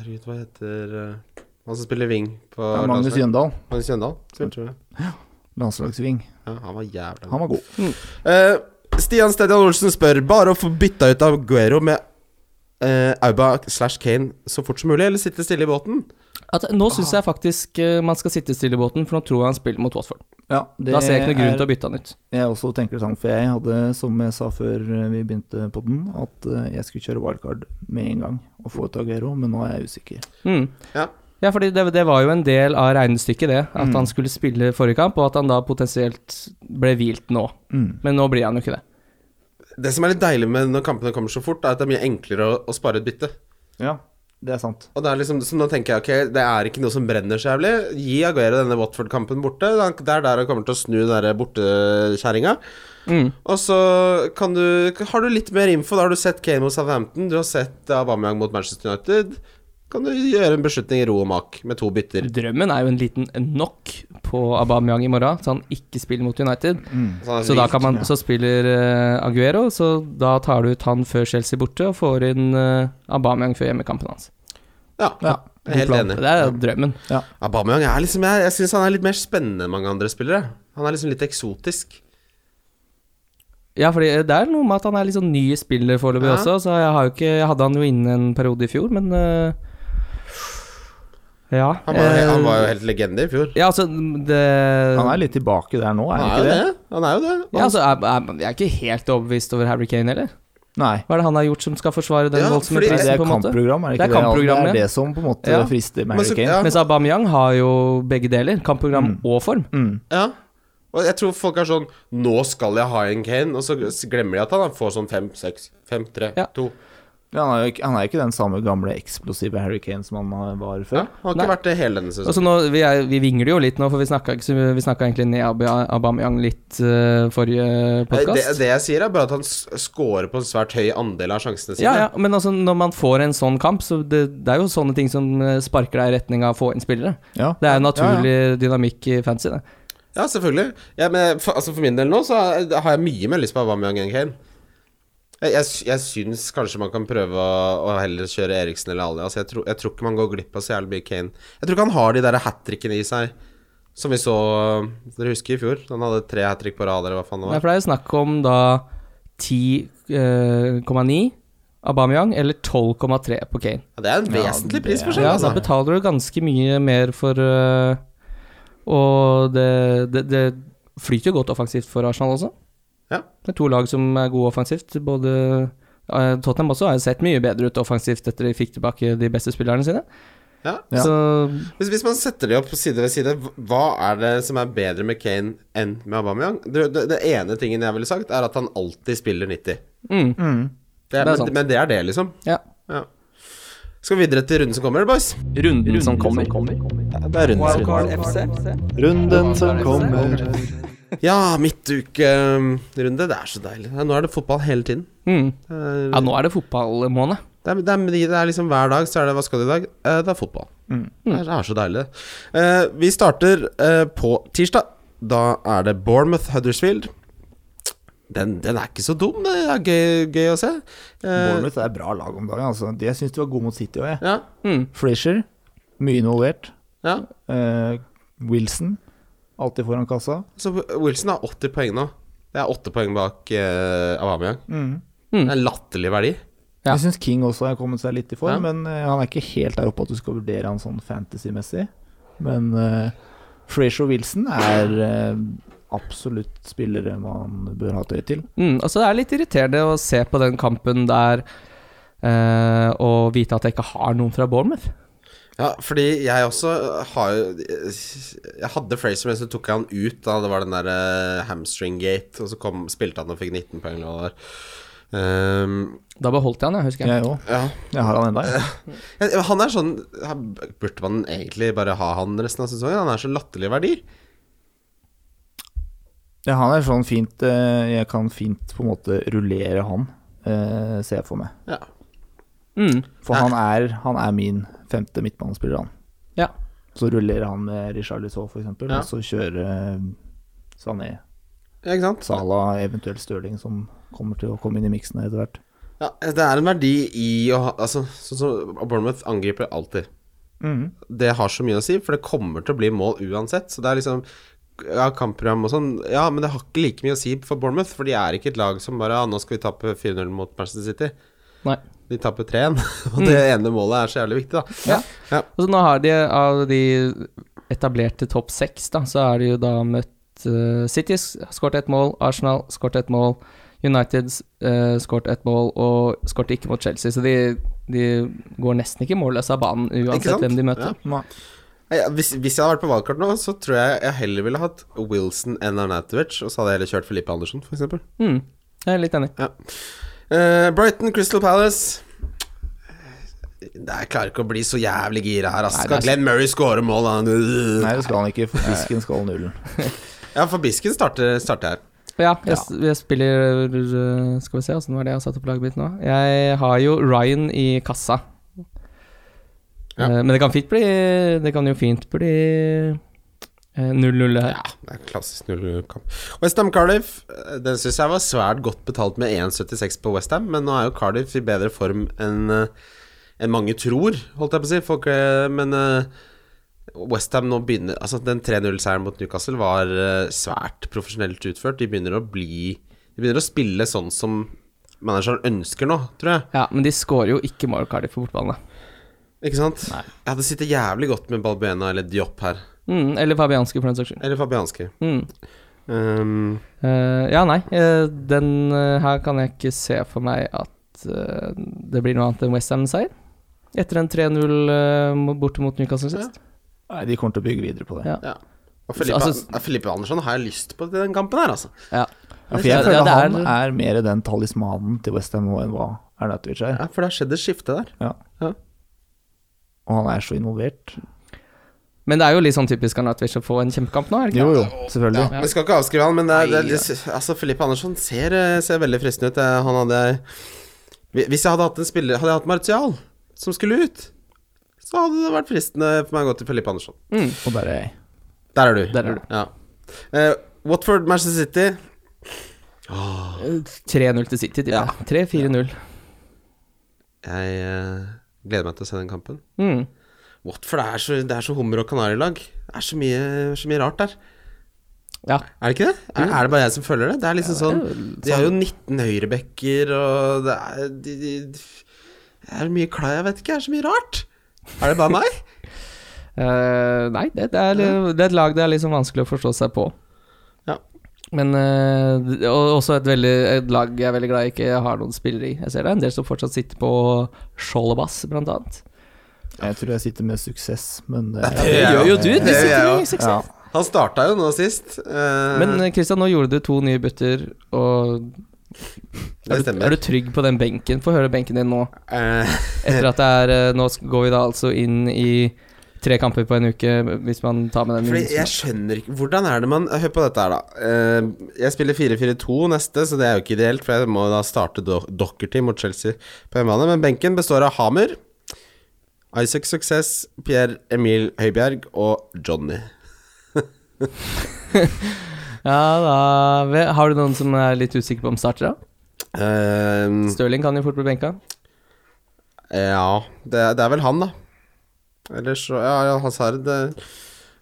Herregud, hva heter eh, han som spiller wing på Ja, Magnus landslaget? Jøndal, Magnus Jøndal. Spilte vi. landslagsving. Ja, han var jævla god. Han var god. Eh, Stian Stedian Olsen spør Bare å få bytta ut Aguero med eh, Auba slash Kane så fort som mulig, eller sitte stille i båten? At, nå syns jeg faktisk eh, man skal sitte stille i båten, for nå tror jeg han spiller mot Watford. Ja, det da ser jeg ikke noen grunn til er- å bytte han ut. Jeg også tenker det samme, for jeg hadde, som jeg sa før vi begynte podden, at eh, jeg skulle kjøre wildcard med en gang og få et Agero, men nå er jeg usikker. Mm. Ja. Ja, fordi det, det var jo en del av regnestykket, det. At Mm. han skulle spille forrige kamp, og at han da potensielt ble hvilt nå. Mm. Men nå blir han jo ikke det. Det som er litt deilig med når kampene kommer så fort, er at det er mye enklere å, å spare et bytte. Ja, det er sant. Og det er liksom, så nå tenker jeg ok, det er ikke noe som brenner så jævlig. Gi Aguero denne Watford-kampen borte. Det er der han kommer til å snu den der bortekjerringa. Mm. Og så kan du, har du litt mer info. Da har du sett Kane mot Southampton, du har sett Aubameyang mot Manchester United. Kan du gjøre en beslutning i ro og mak med to bytter. Drømmen er jo en liten knock på Aubameyang i morgen, så han ikke spiller mot United. Mm. Så han er Så da vilt. kan man, ja. så spiller eh, Aguero, så da tar du ut han før Chelsea borte, og får inn eh, Aubameyang før hjemmekampen hans. Ja, Ja, jeg er helt god plan. enig. Det er jo drømmen. Aubameyang er liksom Jeg, jeg syns han er litt mer spennende enn mange andre spillere. Han er liksom litt eksotisk. Ja, fordi eh, det er noe med at han er litt sånn ny spiller foreløpig Ja. også, så jeg har jo ikke jeg hadde han jo inne en periode i fjor, men eh, Ja. Han var, eh, han var jo helt legende i fjor. Ja, altså det Han er litt tilbake der nå, Han er han er jo ikke det? det. Han er jo det. ja, altså, jeg, jeg, jeg er ikke helt overbevist over Harry Kane heller. Nei. Hva er det han har gjort som skal forsvare den Ja, voldsomme fordi- Nei, det prisen, er på en måte? kampprogram, er det Det er ikke det? kampprogram, det ja. er det som på en måte Ja. frister med Men så- Harry Kane. ja. Mens Aubameyang har jo begge deler. Kampprogram Mm. og form. Mm. Ja. Og jeg tror folk er sånn Nå skal jeg ha en Kane, og så glemmer de at han får sånn fem, seks, fem, tre, Ja. to. Ja, han, er jo ikke, han er jo ikke den samme gamle eksplosive Harry Kane som han har- var Ja, han før. har ikke Nei. vært det hele denne Og så sesongen. Altså, nå, vi, er, vi vingler jo litt nå, for vi snakka, ikke, så vi- vi snakka egentlig ned Aub- Aubameyang litt eh, forrige Eh, Det, podkast. det jeg sier, er bare at han s- scorer på en svært høy andel av sjansene sine. Ja, ja, men altså, når man får en sånn kamp, så det, det er jo sånne ting som eh, sparker deg i retning av å få inn spillere. Ja. Det er jo naturlig dynamikk i fantasy, det. Ja, selvfølgelig. Ja, men for, altså for min del nå så er- har jeg mye mer lyst på Aubameyang enn Kane. Jeg, jeg, sy- jeg syns kanskje man kan prøve å, å heller kjøre Eriksen eller Ali. Altså jeg, tror- jeg tror ikke man går glipp av så jævlig mye Kane. Jeg tror ikke han har de der hat trickene i seg som vi så Dere husker i fjor? Han hadde tre hat trick på rad, eller hva faen det Nei, var. for det er jo snakk om da 10,9 Aubameyang eller 12,3 på Kane. Ja, det er en Ja, vesentlig det- prisforskjell, Ja, da altså. betaler du ganske mye mer for eh, Og det, det, det flyter jo godt offensivt for Arsenal også. Ja. Det er to lag som er gode offensivt. Både eh, Tottenham også har jo sett mye bedre ut offensivt etter de fikk tilbake de beste spillerne sine. Ja. Ja. Så Hvis, hvis man setter de opp side ved side, hva er det som er bedre med Kane enn med Aubameyang? Det, det, det ene tingen jeg ville sagt, er at han alltid spiller 90. mm, Mm. Det er, Det er sant. men, men det er det, liksom. ja. Ja. Skal vi videre til runden som kommer, boys? Runden som kommer. Det er rundt Wildcard FC. Runden som kommer. Ja, midtukerunde. Det er så deilig. Ja, Nå er det fotball hele tiden. Mm. Det er, ja, nå er det fotballmåned. det er, det er, det er liksom hver dag så er det Hva skal du i dag? Eh, Det er fotball. Mm. Det, er, det er så deilig. Eh, vi starter eh, på tirsdag. Da er det Bournemouth Huddersfield. Den, den er ikke så dum. Det er gøy, gøy å se. Eh, Bournemouth er et bra lag om dagen. Altså. De- Jeg syns de var gode mot City òg, jeg. Ja, Mm. Fleischer, mye involvert. ja. Eh, Wilson, alltid foran kassa. Så Wilson har 80 poeng nå. Det er 8 poeng bak eh, Aubameyang. Mm. Det er en latterlig verdi. Ja. Jeg syns King også har kommet seg litt i Ja. form, men eh, han er ikke helt der oppe at du skal vurdere han sånn fantasy-messig. Men eh, Frazier og Wilson er eh, absolutt spillere man bør ha et øye til. Mm, og så er det litt irriterende å se på den kampen der eh, og vite at jeg ikke har noen fra Bournemouth. Ja, fordi jeg også eh, har jo Jeg hadde Fraser, men så tok jeg han ut da det var den der eh, hamstring gate, og så kom, spilte han og fikk 19 poeng eller hva det var. Ehm, Da beholdt jeg han, jeg husker jeg. Jeg òg. ja. Jeg har han enda. jeg. Ja, Han er sånn han- Burde man egentlig bare ha han resten av sesongen? Han er så latterlig verdi. Ja, han er sånn fint eh, Jeg kan fint på en måte rullere han, eh, ser jeg for meg. Ja. Mm. For han er, han er min femte midtbanespiller, han. Ja. Så rullerer han med Richarlison, for eksempel, Ja. og så kjører eh, Sané, ja, ikke sant? Salah, eventuelt Stirling, som kommer til å komme inn i miksen her etter hvert. Ja, det er en verdi i å ha Altså, sånn som Bournemouth angriper alltid. Mhm. det har så mye å si, for det kommer til å bli mål uansett. Så det er liksom ja, kampprogram og sånn, ja, men det har ikke like mye å si for Bournemouth, for de er ikke et lag som bare ja, 'Nå skal vi tape 4-0 mot Manchester City'. Nei. De taper 3-1, og det ene målet er så jævlig viktig, da. Mm. Ja. Og så nå har de av de etablerte topp seks, da, så er de jo da møtt eh, City, skåret ett mål, Arsenal eh, skåret ett mål, United uh, skåret ett mål og skåret ikke mot Chelsea. Så de, de går nesten ikke målløs av banen Ikke sant? uansett hvem de møter. Ja. Nei, ja, hvis, hvis jeg hadde vært på valgkart nå, så tror jeg jeg heller ville hatt Wilson enn Arnatovic, og så hadde jeg heller kjørt Felipe Andersen, f.eks. Mm, jeg er litt enig. Uh, Brighton, Crystal Palace Nei, Jeg klarer ikke å bli så jævlig gira her, ass. Nei, det Skal er- Glenn Murray score mål, da? Nei, det skal han ikke, for fisken skal nullen. Ja, for Bisken starter, starter her. Ja, jeg, jeg spiller øh, Skal vi se, åssen var det jeg har satt opp laget mitt nå? Jeg har jo Ryan i kassa. Ja. Eh, men det kan fint bli Det kan jo fint bli eh, 0-0 her. Det er klassisk nullkamp. Westham Cardiff, eh, den syns jeg var svært godt betalt med 1,76 på Westham, men nå er jo Cardiff i bedre form enn eh, enn mange tror, holdt jeg på å si. Folk, eh, men Westham nå begynner Altså, den 3-0-seieren mot Newcastle var eh, svært profesjonelt utført. De begynner å bli De begynner å spille sånn som manageren ønsker nå, tror jeg. Ja, men de skårer jo ikke mål Cardiff på bortbane. Ikke sant? Jeg hadde sittet jævlig godt med Balbuena eller Diop her. Mm, eller Fabianski, for den saks skyld. Eller Fabianski. Mm. Um, Eh, ja, nei. eh, den eh, her kan jeg ikke se for meg at eh, det blir noe annet enn Westham-seier. Etter en 3-0 eh, mo- borte mot Newcastle sist. Nei, de kommer til å bygge videre på det. Ja. Ja. Og Felipe, Altså- Felipe Andersson har jeg lyst på til den kampen her, altså. Ja. Ja, for jeg Ja, føler det er- han er mer den talismanen til Westham enn hva Arnautovic er. Ja, for det har skjedd et skifte der. Ja. Ja. Og han er så involvert. Men det er jo litt sånn typisk Arnatovic å få en kjempekamp nå, er det ikke? Jo, jo, selvfølgelig. Vi skal ikke avskrive han, men det er, det er, altså, Felipe Andersson ser, eh, ser veldig fristende ut. Eh, Han hadde Hvi- Hvis jeg hadde hatt en spiller Hadde jeg hatt Martial, som skulle ut, så hadde det vært fristende for meg å gå til Felipe Andersson. Og der er jeg. Der er du. Der er du. Ja. Eh, Watford, Manchester City. 3-0 til City, tipper jeg. 3-4-0. Jeg eh, gleder meg til å se den kampen. Mm. Watford det er så, det er så hummer- og kanarilag. Det er så mye, så mye rart der. Ja. Er det ikke det? Er, er det bare jeg som føler det? Det er liksom sånn De har jo 19 høyrebekker, og det er de, de, de, Det er mye klær, jeg vet ikke, det er så mye rart. Er det bare meg? Eh, nei, det, det, er, li- det er et lag det er liksom vanskelig å forstå seg på. Ja. Men eh, det- og også et, veldig, et lag jeg er veldig glad jeg ikke har noen spillere i. Jeg ser det er en del som fortsatt sitter på Sjålebass, blant annet. Jeg tror jeg sitter med suksess, men det Det gjør jo du, du sitter jo i suksess. Ja. Han starta jo nå sist. eh, Men eh, Christian, nå gjorde du to nye bytter, og det er stemmer. du trygg på den benken? Få høre benken din nå. Eh, Etter at det er eh, Nå sk- går vi da altså inn i tre kamper på en uke, hvis man tar med den fordi minusen. jeg skjønner ikke Hvordan er det man Hør på dette her, da. Eh, jeg spiller 4-4-2 neste, så det er jo ikke ideelt, for jeg må da starte Do Dockerty mot Chelsea på hjemmebane. Men benken består av Hamer, Isaac Success, Pierre Emil Høibjerg og Johnny. Ja da ve- Har du noen som er litt usikker på om starter, da? Eh, Stirling kan jo fort bli benka. Ja, det, det er vel han, da. Ellers så Ja, ja Hazard eh,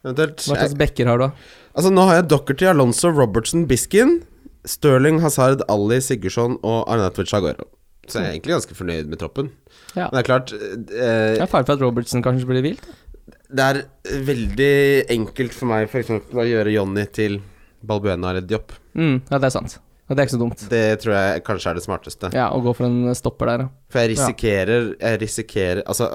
Eventuelt. Hva slags Jeg, bekker har du, da? altså, nå har jeg Dockerty, Alonso, Robertson, Biskin, Sterling, Hazard, Ali, Sigurdsson og Arnatovic Agoro. Så jeg er egentlig ganske fornøyd med troppen. Ja. Men det er klart eh, Det er fare for at Robertson kanskje blir vilt. Det er veldig enkelt for meg for eksempel å gjøre Jonny til Balbuena eller Diop. Mm, ja, det er sant. Ja, det er ikke så dumt. Det tror jeg kanskje er det smarteste. Ja, Å gå for en stopper der, ja. For jeg risikerer Jeg risikerer Altså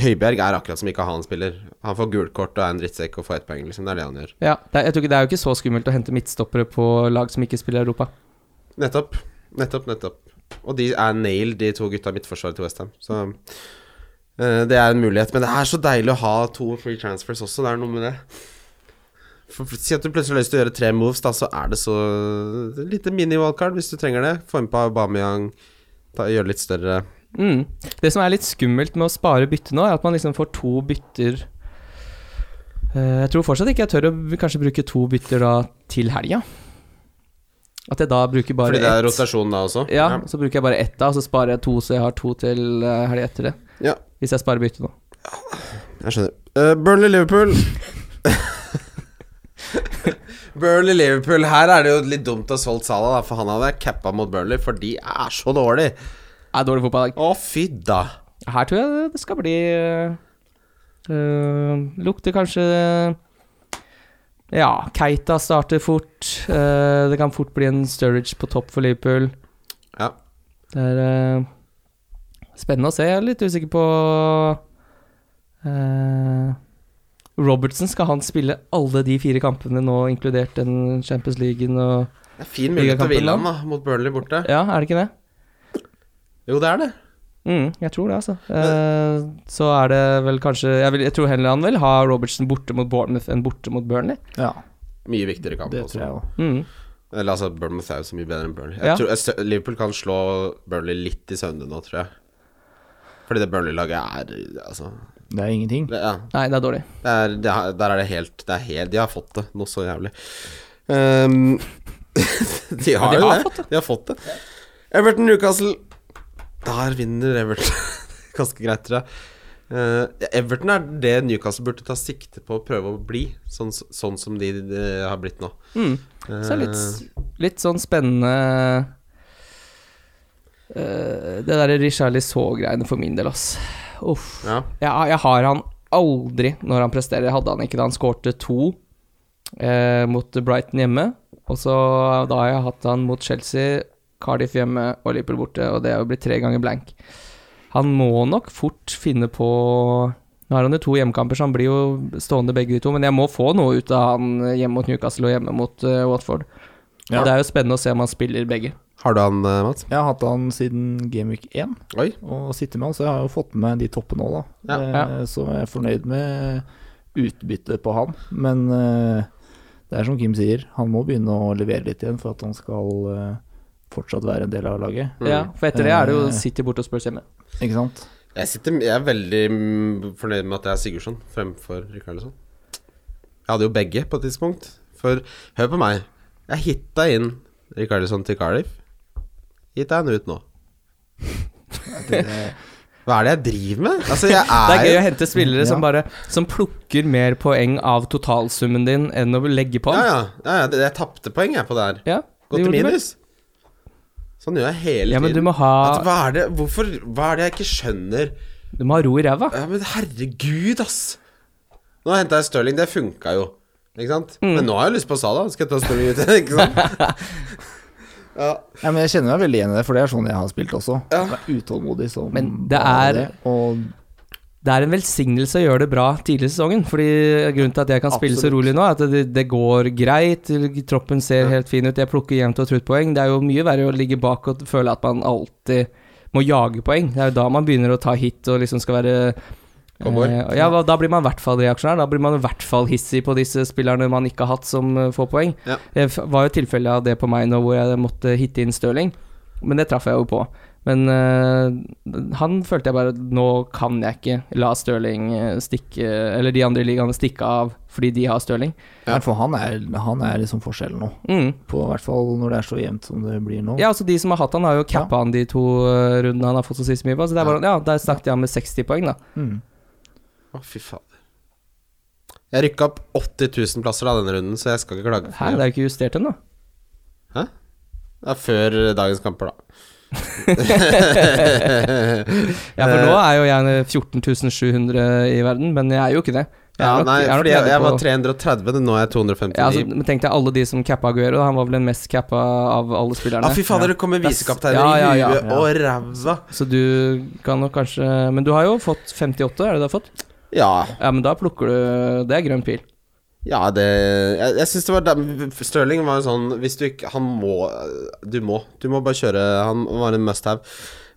Høibjerg er akkurat som ikke han spiller. Han får gult kort og er en drittsekk og får ett poeng, liksom. Det er det han gjør. ja det, er, jeg tror ikke, det er jo ikke så skummelt å hente midtstoppere på lag som ikke spiller i Europa. Nettopp. Nettopp, nettopp. Og de er nailed, de to gutta i midtforsvaret til Westham. Så eh, det er en mulighet. Men det er så deilig å ha to free transfers også, det er noe med det. For, for, si at du plutselig har lyst til å gjøre tre moves, da, så er det så det er et lite mini-wildcard hvis du trenger det. Få inn på Aubameyang, ta, gjøre det litt større. Mm. Det som er litt skummelt med å spare bytte nå, er at man liksom får to bytter Eh, Jeg tror fortsatt ikke jeg tør å b- kanskje bruke to bytter da til helga. At jeg da bruker bare Fordi det er ett. rotasjon da også. Ja, så bruker jeg bare ett da, og så sparer jeg to, så jeg har to til eh, helga etter det. Ja. Hvis jeg sparer bytte nå. Jeg skjønner. Eh, Burnley-Liverpool. Burnley-Liverpool. Her er det jo litt dumt å ha solgt Salah, da, for han hadde jeg cappa mot Burnley, for de er så dårlige. Er dårlig fotballag. Å, fy da. Her tror jeg det skal bli eh, eh, Lukter kanskje Ja, Keita starter fort. eh, det kan fort bli en Sturridge på topp for Liverpool. Ja. Det er eh, Spennende å se. Jeg er litt usikker på eh, Robertson, skal han spille alle de fire kampene nå, inkludert den Champions League-en og Det er fin mulighet til Ligakampen Villand, da, mot Burnley borte. Ja, er det ikke det? Jo, det er det. Mm, jeg tror det, altså. Eh, så er det vel kanskje Jeg, vil, jeg tror heller han vil ha Robertson borte mot Bournemouth enn borte mot Burnley. Ja, Mye viktigere kamp. det også. tror jeg òg. Mm. Eller altså, Bournemouth er jo så mye bedre enn Burnley. Jeg Ja. tror, jeg- Liverpool kan slå Burnley litt i søvne nå, tror jeg. Fordi det Burnley-laget er Altså. Det er ingenting. Det, ja, Nei, det er dårlig. det er, det er, der er det helt Det er helt De har fått det noe så jævlig. Ehm, de har Ja, de jo har det. De har fått det. Everton Newcastle. Der vinner Everton. Ganske greit, tror jeg. Eh, Everton er det Newcastle burde ta sikte på å prøve å bli, sånn, sånn som de, eh, har blitt nå. Mm. Eh, Så det er litt, litt sånn spennende eh, Det derre Richard Lissault-greiene for min del, ass. Uff. ja. Jeg, jeg har han aldri når han presterer. Jeg hadde han ikke da han skårte to eh, mot Brighton hjemme. Og så eh, da har jeg hatt han mot Chelsea, Cardiff hjemme og Liverpool borte, og det er jo blitt tre ganger blank. Han må nok fort finne på Nå har han jo to hjemmekamper, så han blir jo stående begge de to, men jeg må få noe ut av han hjemme mot Newcastle og hjemme mot eh, Watford. Ja. Og det er jo spennende å se om han spiller begge. Har du han, eh, Mats? Jeg har hatt han siden Gameweek 1 Oi. og sitter med han, så jeg har jo fått med de toppene òg, da. Ja. Eh, Så jeg er fornøyd med utbyttet på han. Men eh, det er som Kim sier, han må begynne å levere litt igjen for at han skal eh, fortsatt være en del av laget, Mm. Ja, for etter det er det jo Eh. City borte og Spurs hjemme. ikke sant? Jeg, sitter, jeg er veldig mm, fornøyd med at det er Sigurdsson fremfor Rikardsson. Jeg hadde jo begge på et tidspunkt. For hør på meg. Jeg hitta inn Rikardsson til Cardiff. Hitta han ut nå. Hva er det jeg driver med? Altså, jeg Det er gøy å er hente spillere som Ja. bare Som plukker mer poeng av totalsummen din enn å legge på. Ja, den. ja. ja, ja det- jeg tapte poeng, jeg, på det her. ja. Gå det til gjorde du vel. minus. Sånn gjør jeg hele Ja, men du tiden. må ha, At, hva, er det, hvorfor, hva er det jeg ikke skjønner? du må ha ro i ræva. Ja, men herregud, ass. Nå henta jeg Stirling, det funka jo. Ikke sant? Mm. Men nå har jeg lyst på Sala. Skal jeg ta Stirling ut? Ikke sant? ja. Ja, men jeg kjenner meg veldig igjen i det, for det er sånn jeg har spilt også. Ja. Jeg er utålmodig som Men det bare er- det, og Det er en velsignelse å gjøre det bra tidligere i sesongen. Fordi Grunnen til at jeg kan spille så Absolutt. rolig nå, er at det, det går greit. Troppen ser helt fin ut. Jeg plukker jevnt og trutt poeng. Det er jo mye verre å ligge bak og føle at man alltid må jage poeng. Det er jo da man begynner å ta hit og liksom skal være Cowboy. eh, ja, hva- da blir man i hvert fall reaksjonær. Da blir man i hvert fall hissig på disse spillerne man ikke har hatt, som eh, får poeng. Ja. Det f- var jo tilfelle av det på meg nå, hvor jeg måtte hitte inn Stirling. Men det traff jeg jo på. Men eh, han følte jeg bare Nå kan jeg ikke la Stirling eh, stikke Eller de andre ligaene stikke av fordi de har Stirling. Ja. Nei, For han er, han er liksom forskjellen nå, Mm. på hvert fall når det er så jevnt som det blir nå. Ja, altså De som har hatt han, har jo cappa han de to eh, rundene han har fått så sist mye på. Så det er bare, ja, Der snakket jeg han med 60 poeng, da. Mm. Å, fy fader. Jeg rykka opp 80 000 plasser da, denne runden, så jeg skal ikke klage. Hæ, For det. det er jo ikke justert ennå. Ja, før dagens kamper, da. Ja, for Eh, nå er jo jeg 14 700 i verden, men jeg er jo ikke det. Jeg er Ja, nok- nei, jeg er nok fordi jeg, nede jeg var på- 330, men nå er jeg 259. ja, altså, men Tenk deg alle de som cappa Aguero. da. Han var vel den mest cappa av alle spillerne. ah, fy fader, det kommer Ja. visekapteiner Ja, ja, i ja, huet ja. og ræva. Så du kan nok kanskje Men du har jo fått 58, er det du har fått? Ja, Ja, men da plukker du Det er grønn pil. ja, det Jeg, jeg syns det var dem- Stirling var jo sånn Hvis du ikke Han må Du må. Du må bare kjøre. Han var en must have.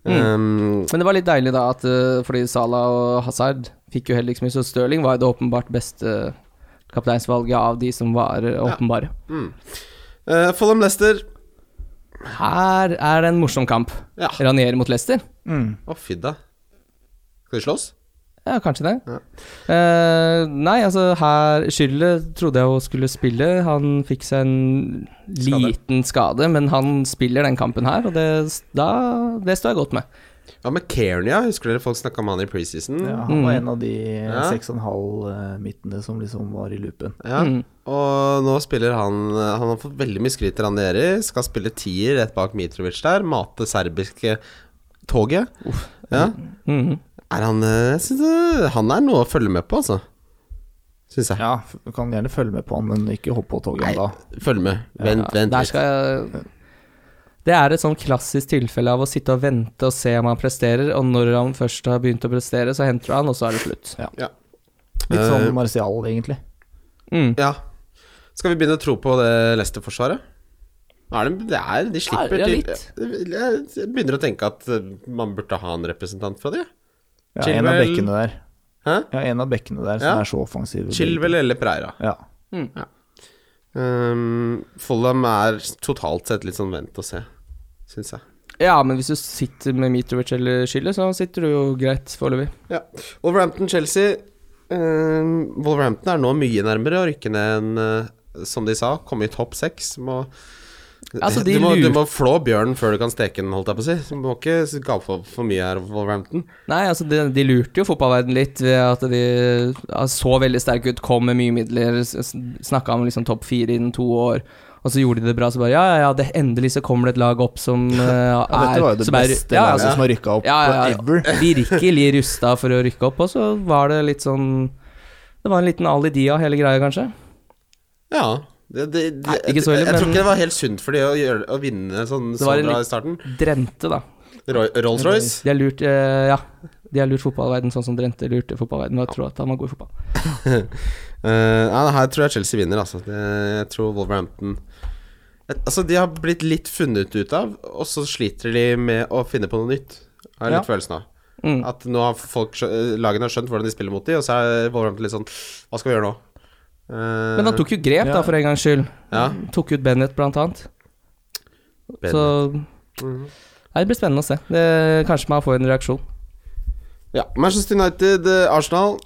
Um, Men det var litt deilig, da, at eh, fordi Salah og Hazard fikk jo heller ikke så mye, så Stirling var jo det åpenbart beste kapteinsvalget av de som var eh, åpenbare. mm. eh, Fulham Leicester. Her er det en morsom kamp. Ja. Å, Ranieri mot Leicester. Mm. fy da. Skal de slåss? Ja, kanskje det. Ja. Eh, nei, altså her Schürrle trodde jeg jo skulle spille. Han fikk seg en Skade. liten skade, men han spiller den kampen her, og det, da, det står jeg godt med. Ja, med Kearnia. Husker dere folk snakka om han i preseason? Ja, Ja. han var Mm. en av de Ja. 6,5-midtene som liksom var i loopen. Mm. Og nå spiller han Han har fått veldig mye skryt til Ranieri. Skal spille tier rett bak Mitrovic der. Mate serbiske toget. Ja. Mhm. Er han eh, Jeg syns eh, han er noe å følge med på, altså. Syns jeg. Ja, f- du kan gjerne følge med på han, men ikke hopp på toget Nei. ennå. Følg med. Vent, vent. Der litt. skal jeg Det er et sånn klassisk tilfelle av å sitte og vente og se om han presterer, og når han først har begynt å prestere, så henter du han, og så er det slutt. Litt sånn Eh, Martial, egentlig. Mm. Ja. Skal vi begynne å tro på det Leicester-forsvaret? Er det, det er, de slipper Ja, ja, til litt. Jeg jeg begynner å tenke at eh, man burde ha en representant fra de. Ja, en av Chilwell- bekkene der. Hæ? Ja, en av bekkene der som Ja. er så offensiv. Chilwell eller Preira. Ja. Um, Fulham er totalt sett litt sånn vent og se, syns jeg. Ja, men hvis du sitter med Mitrovic eller Schiller, så sitter du jo greit foreløpig. Wolverhampton-Chelsea um, Wolverhampton er nå mye nærmere å rykke ned enn eh, som de sa, komme i topp seks. Må- Altså, de du, må, du lurer- må flå bjørnen før du kan steke den, holdt jeg på å si. Du må ikke gape for, for mye her, Wolverhampton. Nei, altså, de, de lurte jo fotballverden litt ved at de ja, så veldig sterke ut, kom med mye midler, snakka om liksom topp fire innen to år. Og så gjorde de det bra, så bare ja, ja, ja, det, endelig så kommer det et lag opp som eh, ja, dette var jo det som er- beste ja, laget altså, som har rykka opp ja, ja, ja. ever. Virkelig rusta for å rykke opp, og så var det litt sånn Det var en liten Ali Dia, hele greia, kanskje. Ja. Det, det, det, Nei, ikke så ille, jeg, jeg tror men- ikke det var helt sunt for de å, gjøre, å vinne sånn Det så var en bra litt- i starten. Drente, da. Roy- Rolls-Royce. De har lurt eh, Ja, de har lurt fotballverden sånn som Drente lurte fotballverden ved å tro at han var god i fotball. Eh, nei, her tror jeg Chelsea vinner, altså. Det, jeg tror Wolverhampton Et- Altså, de har blitt litt funnet ut av, og så sliter de med å finne på noe nytt. Har jeg litt følelsen av. Mm. At nå har folk skjø eh, lagene har skjønt hvordan de spiller mot de, og så er Wolverhampton litt sånn Hva skal vi gjøre nå? Eh, Men han tok jo grep, da, for en gangs skyld. ja, Tok ut Bennett, blant annet. Så Mhm. Nei, Det blir spennende å se. Det, kanskje man får en reaksjon. ja. Manchester United, eh, Arsenal.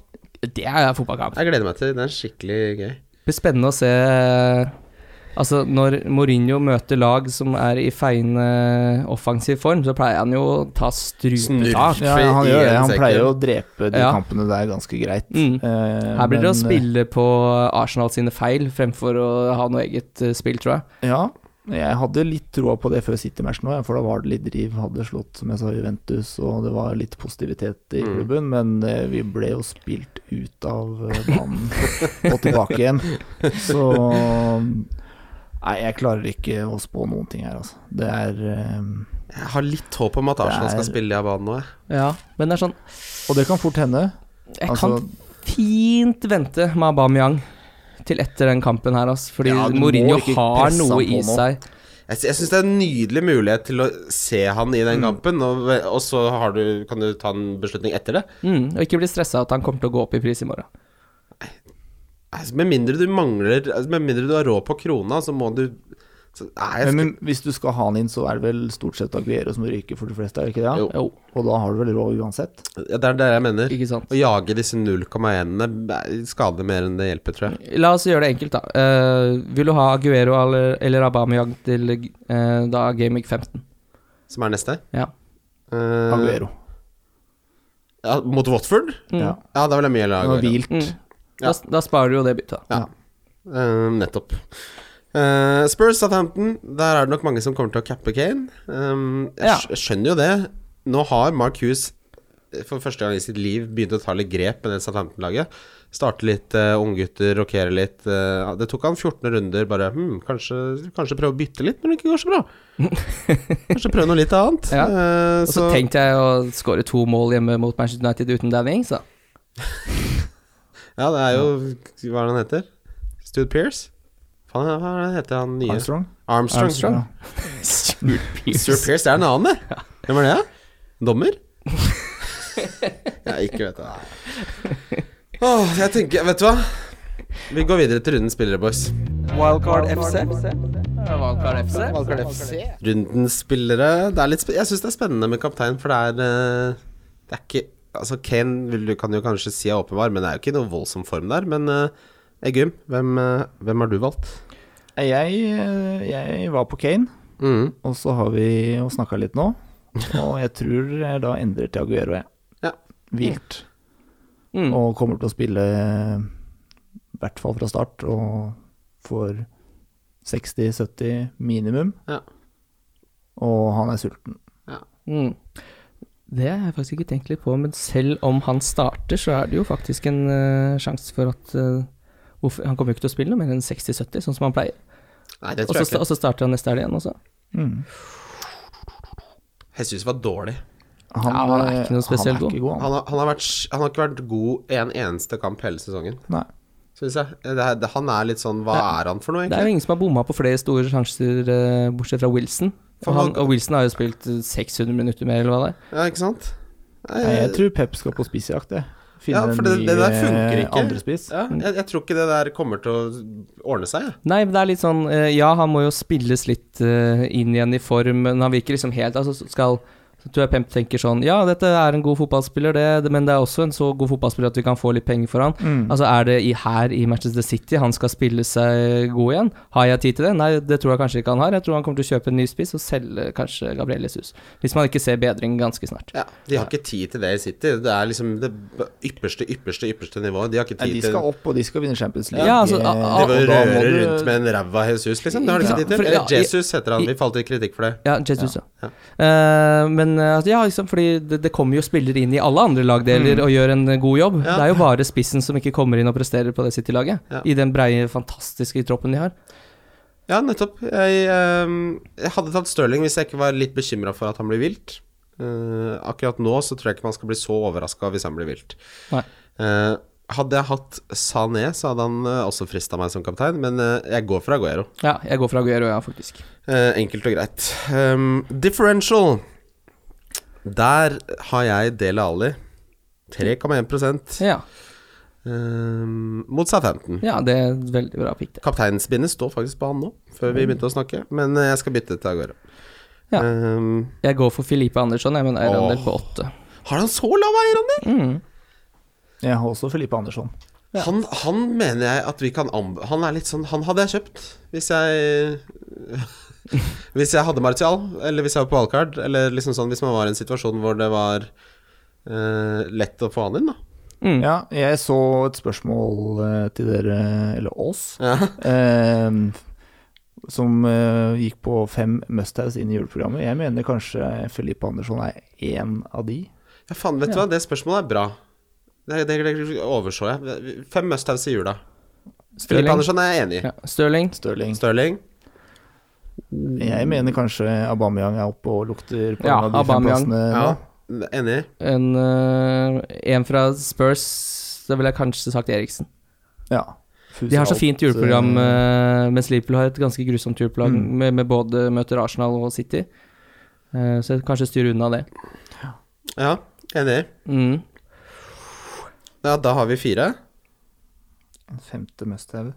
Det er fotballkamp. Jeg gleder meg til det. Det er skikkelig gøy. Det blir spennende å se eh, Altså, når Mourinho møter lag som er i feiende offensiv form, så pleier han jo å ta strupetak. Snurr. Ja, han gjør det. Han Én pleier jo sekund. å drepe de Ja. kampene der ganske greit. Mm. Eh, Her blir det å men, spille på Arsenal sine feil fremfor å ha noe eget eh, spill, tror jeg. eh, Ja. Jeg hadde litt troa på det før City-matchen òg, for da var det litt driv. Hadde slått, som jeg sa, Juventus, og det var litt positivitet i Mm. klubben. Men eh, vi ble jo spilt ut av eh, banen og tilbake igjen. Så Nei, jeg klarer ikke å spå noen ting her, altså. Det er eh, Jeg har litt håp om at Arsenal Det er- skal spille av banen nå, jeg. Ja, men det er sånn Og det kan fort hende. Jeg Altså, kan fint vente med Aubameyang til etter den kampen her, altså, fordi Ja, du må Mourinho ikke har presse noe han på i nå. seg. Jeg, sy- jeg syns det er en nydelig mulighet til å se han i den kampen, og, og så har du, kan du ta en beslutning etter det. Mm, og ikke bli stressa at han kommer til å gå opp i pris i morgen. Altså, med mindre du mangler altså, Med mindre du har råd på krona, så må du så, Nei, jeg men, skal, men hvis du skal ha han inn, så er det vel stort sett Aguero som ryker for de fleste, er det ikke det? Jo. Jo, Og da har du vel råd uansett? ja, det er det jeg mener. ikke sant. Å jage disse 0,1-ene skader mer enn det hjelper, tror jeg. La oss gjøre det enkelt, da. Eh, vil du ha Aguero eller, eller Aubameyang til eh, da Game Week 15? Som er neste. Ja. Eh, Aguero. Ja, mot Watford? Mm. Ja. Ja, da vil jeg mye heller ha Han har Aguero. hvilt. Mm. Ja. Da, da sparer du jo det byttet. da. Ja. Eh, nettopp. Eh, Spurs Southampton, der er det nok mange som kommer til å cappe Kane. Um, jeg Ja. skj- skjønner jo det. Nå har Mark Hughes eh, for første gang i sitt liv begynt å ta litt grep med det Southampton-laget. Starte litt eh, unggutter, rokere litt. eh, det tok han 14 runder, bare hm, kanskje, kanskje prøve å bytte litt når det ikke går så bra. kanskje prøve noe litt annet. Ja. Eh, Og så tenkte jeg å skåre to mål hjemme mot Manchester United uten Danny Ings, da. Ja, det er jo Hva er det han heter? Stude Pearce? Faen, hva er det han heter han nye? Armstrong. Armstrong. Armstrong. Stuart Pearce, det er en annen, det. Hvem er det? da? Dommer? jeg ikke vet det. Åh, jeg tenker Vet du hva? Vi går videre til runden spillere, boys. Wildcard FC. Valkar FC. Runden spillere det er litt spe Jeg syns det er spennende med kaptein, for det er eh, Det er ikke Altså, Kane vil du, kan jo kanskje si er åpenbar, men det er jo ikke noe voldsom form der. Men eh, Eggum, hvem, eh, hvem har du valgt? Jeg, eh, jeg var på Kane, Mhm. og så har vi og snakka litt nå. Og jeg tror jeg da endrer til Aguero, jeg. Ja. Hvilt. Mm. Og kommer til å spille i hvert fall fra start, og får 60-70 minimum. Ja. Og han er sulten. Mm. Det har jeg faktisk ikke tenkt litt på, men selv om han starter, så er det jo faktisk en eh, sjanse for at eh, hvorfor, Han kommer jo ikke til å spille noe mer enn 60-70, sånn som han pleier. Nei, det Og tror så jeg sta- ikke. og så starter han neste helg igjen også. Mm. Jesus var dårlig. Han, Ja, han er ikke noe spesielt han er ikke god. Han. Han har, han, har vært, s- han har ikke vært god i en eneste kamp hele sesongen, Nei. syns jeg. Det, er- det, han er litt sånn Hva er han for noe, Det er egentlig? jo ingen som har bomma på flere store sjanser, eh, bortsett fra Wilson. For Og, han, han- og Wilson har jo spilt eh, 600 minutter mer, eller hva det er. Ja, ikke sant? Nei, Nei, Jeg tror Pep skal på spissjakt, jeg. Finne Ja, for en det- ny det der funker eh, ikke. andrespiss. ja, jeg, jeg tror ikke det der kommer til å ordne seg. jeg. Nei, men det er litt sånn eh, Ja, han må jo spilles litt eh, inn igjen i form, men han virker liksom helt Altså skal så tror jeg Pemp tenker sånn Ja, dette er en god fotballspiller, det, det, men det er også en så god fotballspiller at vi kan få litt penger for han. Mm. Altså, er det i, her i Manchester City han skal spille seg eh, god igjen? Har jeg tid til det? Nei, det tror jeg kanskje ikke han har. Jeg tror han kommer til å kjøpe en ny spiss og selge kanskje Gabriel Jesus. Hvis man ikke ser bedring ganske snart. Ja, de har ikke tid til det i City. Det er liksom det ypperste, ypperste, ypperste nivået. De har ikke Nei, tid de til skal opp, og de skal vinne Champions League. Ja, altså, Eh, a- a- De og vil da må røre du- rundt med en ræv av Jesus, liksom. Det har de ikke Ja, tid til. for- ja, Eller Jesus heter han. Vi falt i kritikk for det. Ja, Jesus, ja. Eh, men eh, ja, liksom, fordi det, det kommer jo spillere inn i alle andre lagdeler og gjør en eh, god jobb. Mm. Ja. Det er jo bare spissen som ikke kommer inn og presterer på det City-laget. Ja. I den breie, fantastiske troppen de har. Ja, nettopp. Jeg, ehm, jeg hadde tatt Stirling hvis jeg ikke var litt bekymra for at han blir vilt. Eh, akkurat nå så tror jeg ikke man skal bli så overraska hvis han blir vilt. Nei. Eh, hadde jeg hatt Sané, så hadde han eh, også frista meg som kaptein, men eh, jeg går for Aguero. Ja, jeg går for Aguero, ja, faktisk. Eh, enkelt og greit. Ehm, differential. Der har jeg Dele Ali. 3,1 Ja, Ehm, mot Southampton. ja det er et veldig bra pick, det. Kapteinsbindet står faktisk på han nå, før vi begynte å snakke, men eh, jeg skal bytte til Aguero. Ja. Ehm, Jeg går for Filipe Andersson, jeg, men Eirander Åh. på åtte. Har han så lav eierandel? Jeg har også Felipe Andersson. Han, han mener jeg at vi kan anb... Han er litt sånn Han hadde jeg kjøpt hvis jeg Hvis jeg hadde Martial, eller hvis jeg var på valgkart, eller liksom sånn hvis man var i en situasjon hvor det var eh, lett å få han inn, da. Mm. Ja, jeg så et spørsmål eh, til dere, eller oss, Ja. eh, som eh, gikk på fem must-haves inn i juleprogrammet. Jeg mener kanskje Felipe Andersson er én av de. Ja, faen, vet du hva, det spørsmålet er bra. Det, det, det overså jeg. Fem must-haves i jula. Filip Stirling. Andersson er jeg enig i. Ja. Stirling. Stirling. Stirling. Jeg mener kanskje Aubameyang er oppe og lukter på Ja, en av de fem Aubameyang. plassene Ja, nå. enig. En, eh, en fra Spurs, da ville jeg kanskje sagt Eriksen. Ja. De har så Fusalt, fint juleprogram, eh, eh, mens Liverpool har et ganske grusomt juleprogram Mm. med, med både møter Arsenal og City. Eh, så jeg kanskje styre unna det. Ja, enig. Mm. Ja, da har vi fire. eh. Femte must-have.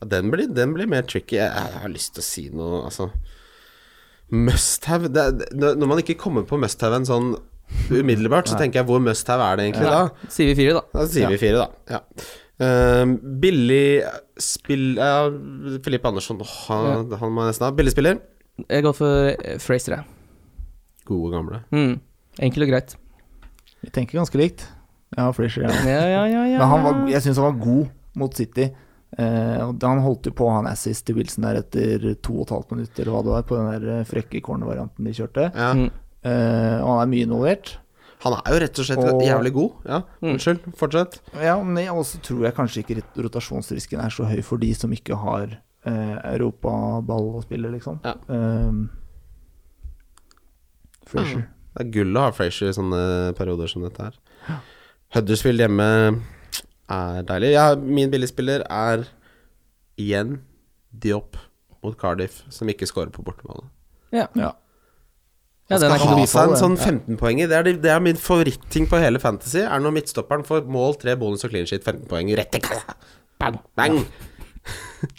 Ja, den blir, den blir mer tricky. Jeg, jeg har lyst til å si noe, altså. Must-have det, er- det- Når man ikke kommer på must-haven sånn umiddelbart, så tenker jeg hvor must-have er det egentlig da? Sier vi fire, da. Da sier vi fire, da. Ja. Ehm, billig spill... Ja, Filippe Andersson, åh, han, han må jeg nesten ha. Billigspiller. Jeg går for eh, Fraser, jeg. Gode, gamle. Mm. Enkel og greit. Vi tenker ganske likt. Ja, Fleischer, ja. Ja, ja, ja, ja. Men han var, jeg syns han var god mot City. Eh, og han holdt jo på han assist til Wilson der etter to og et halvt minutt eller hva det var, på den der eh, frekke cornervarianten de kjørte. Ja. Mm. Eh, og han er mye involvert. Han er jo rett og slett Og- jævlig god. Ja, unnskyld. Fortsett. Ja, men jeg også tror jeg kanskje ikke rot- rotasjonsrisken er så høy for de som ikke har eh, europaball å spille, liksom. Ja. Eh, Fleischer. Det er gull å ha Frazier i sånne perioder som dette her. Huddersfield hjemme er deilig. Ja, min billigspiller er igjen Diop mot Cardiff, som ikke scorer på bortebane. Ja. Ja. ja, den Skal er ikke ha noe seg en det. sånn 15-poenger. Det, er det- det er min favoritting på hele Fantasy. Er når midtstopperen får mål, tre bonus og clean sheet, 15 poeng rett i kassa. Bang, bang.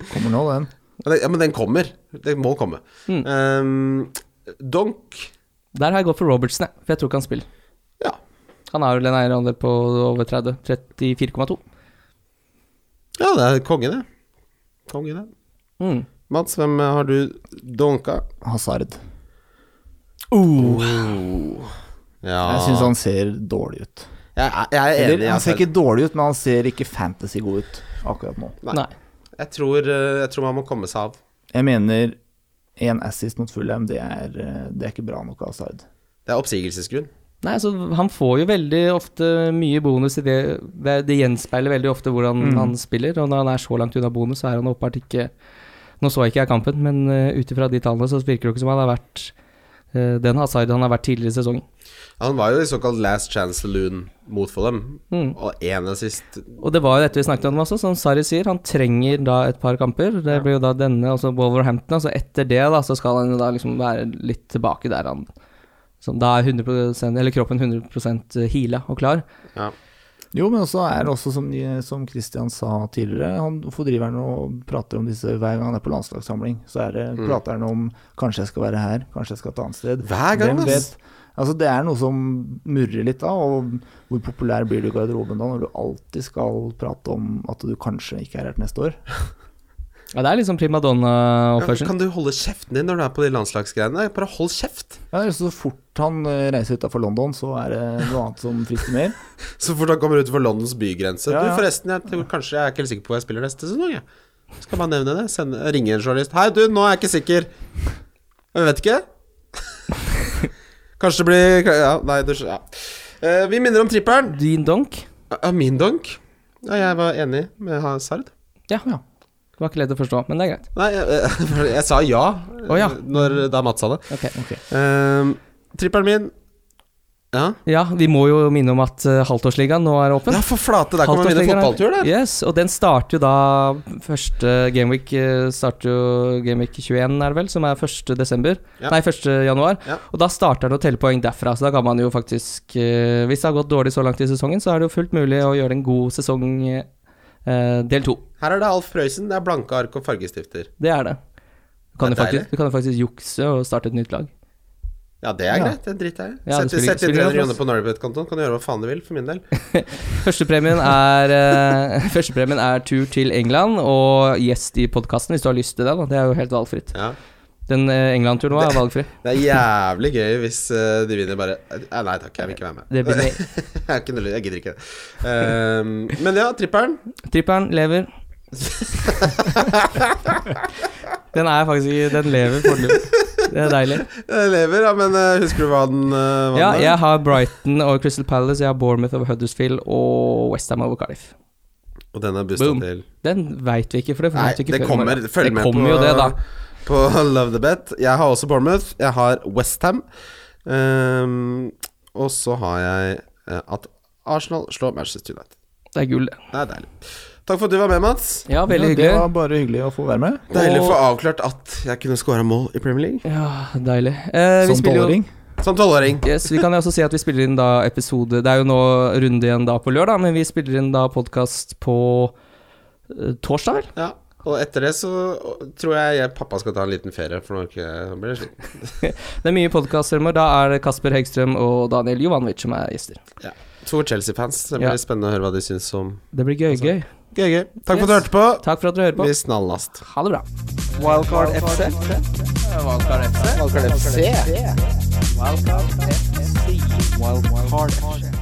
Kommer nå, den. Ja, det- Ja, men den kommer. Den må komme. Mm. Um, donk Der har jeg gått for Robertsen, jeg. For jeg tror ikke han spiller. Ja. Han har vel en eierandel på over 30. 34,2. Ja, det er konge, det. Konge, det. Mm. Mats, hvem eh, har du donka? Uh. Hazard. Ja Uh. Jeg syns han ser dårlig ut. Jeg, er- jeg er enig. altså. Eller, i han ser Hazard. ikke dårlig ut, men han ser ikke fantasy god ut akkurat nå. Nei. Nei. Jeg, tror, eh, jeg tror man må komme seg av. Jeg mener én assist mot Fulham, det er, eh, det er ikke bra nok av Hazard. Det er oppsigelsesgrunn. Nei, altså, han får jo veldig ofte mye bonus i det Det, det gjenspeiler veldig ofte hvordan han spiller, og når han er så langt unna bonus, så er han åpenbart ikke Nå så ikke jeg kampen, men uh, ut ifra de tallene så virker det ikke som han har vært eh, den Hazard han har vært tidligere i sesongen. Han var jo i såkalt last chance saloon mot Fulham, Mm. og én assist Og det var jo dette vi snakket om også, som Sarri sier, han trenger da et par kamper. Det blir jo da denne, og så Wolverhampton, og så etter det da, så skal han jo da liksom være litt tilbake der han som da er 100 eller kroppen 100 heala og klar. Jo, men også er det også, som, de- som Christian sa tidligere, han fordriver han og prater om disse hver gang han er på landslagssamling. Så er det, Mm. prater han om 'kanskje jeg skal være her, kanskje jeg skal et annet sted'. Hver gang, Hvem ass! vet? Altså, det er noe som murrer litt da, og hvor populær blir du i garderoben da, når du alltid skal prate om at du kanskje ikke er her til neste år? Ja, det er liksom Ja, men primadonna-oppførsel. Kan du holde kjeften din når du er på de landslagsgreiene? Bare hold kjeft! Ja, eller så fort han eh, reiser utafor London, så er det noe annet som frister mer. Så fort han kommer utenfor Londons bygrense Ja, Du, ja. forresten, jeg tror kanskje jeg er ikke helt sikker på hvor jeg spiller neste sesong, jeg. Skal bare nevne det. Sende, ringe en journalist. 'Hei, du, nå er jeg ikke sikker.' Jeg vet ikke. kanskje det blir Ja, nei, du skjønner. Ja. Eh, vi minner om trippelen. Dean Donk. Ja, min donk? Ja, jeg var enig med ha- Sard. Ja. Det var ikke lett å forstå, men det er greit. Nei, jeg, jeg sa ja, Å, ja. Når, da Mats sa det. Ok. Uh, trippelen min Ja, Ja, vi må jo minne om at uh, halvtårsligaen nå er åpen. ja for flate, der kommer min Halvtårsligaen er- fotballtur, der. Yes, og den starter jo da første Gameweek eh, starter jo Gameweek 21, er det vel, som er 1. desember. Ja. Nei, 1. januar. Ja. Og da starter han å telle poeng derfra, så da kan man jo faktisk eh, Hvis det har gått dårlig så langt i sesongen, så er det jo fullt mulig å gjøre en god sesong eh, eh, del to. Her er det Alf Prøysen, det er blanke ark og fargestifter. Det er det. Du kan, Det jo er faktisk, deilig. du kan jo faktisk jukse og starte et nytt lag. Ja, det er Ja. greit, det driter jeg i. Ja, det Sett spiller- sett inn spiller 300 ingen rolle. kroner på Norwegian-kontoen, kan du gjøre hva faen du vil, for min del. Førstepremien er, eh, førstepremien er tur til England og gjest i podkasten hvis du har lyst til det. Da. Det er jo helt valgfritt. Ja. Den eh, England-turen nå er valgfri. Det er jævlig gøy hvis eh, de vinner bare eh, Nei takk, jeg vil ikke være med. Det blir med. jeg, har ikke noe lyst, jeg gidder ikke det. Ehm, men ja, trippelen. Tripperen lever. den er faktisk ikke Den lever foreløpig. Det er deilig. Jeg lever, ja, men eh, husker du hva den eh, hva Ja, den er? jeg har Brighton og Crystal Palace, jeg har Bournemouth over Huddersfield og Westham over Cardiff. Og den er busta Boom. til. Den veit vi ikke, for det Nei, vet vi ikke det før i morgen. kommer. Følg det med kommer på, jo det, da. på Love the Bet. Jeg har også Bournemouth. Jeg har Westham. Um, og så har jeg eh, at Arsenal slår Manchester United. Det er gull, det. Det er deilig. Takk for at du var med, Mats. Ja, Ja, veldig hyggelig. Eh, Det var bare hyggelig å få være med. Deilig å Og- få avklart at jeg kunne skåra mål i Premier League. Ja, deilig. Eh, vi Som spiller jo tolvåring. Som tolvåring. Yes, vi kan jo også si at vi spiller inn da episode Det er jo nå runde igjen da på lørdag, men vi spiller inn da podkast på eh, torsdag, vel? Ja. Og etter det så tror jeg, jeg pappa skal ta en liten ferie, for nå er ikke- nå blir det slutt. Det er mye podkaster, da er det Kasper Hegstrøm og Daniel Jovanovic som er gjester. To Chelsea-fans. Det blir Ja. spennende å høre hva de syns om Det blir gøy, gøy. Gøy, gøy. Takk for at du Yes. hørte på. Altså, Takk for at dere hører på. Vi snallast. Ha det bra. Wildcard FC. Wildcard FC. Wildcard FC. Wildcard FC.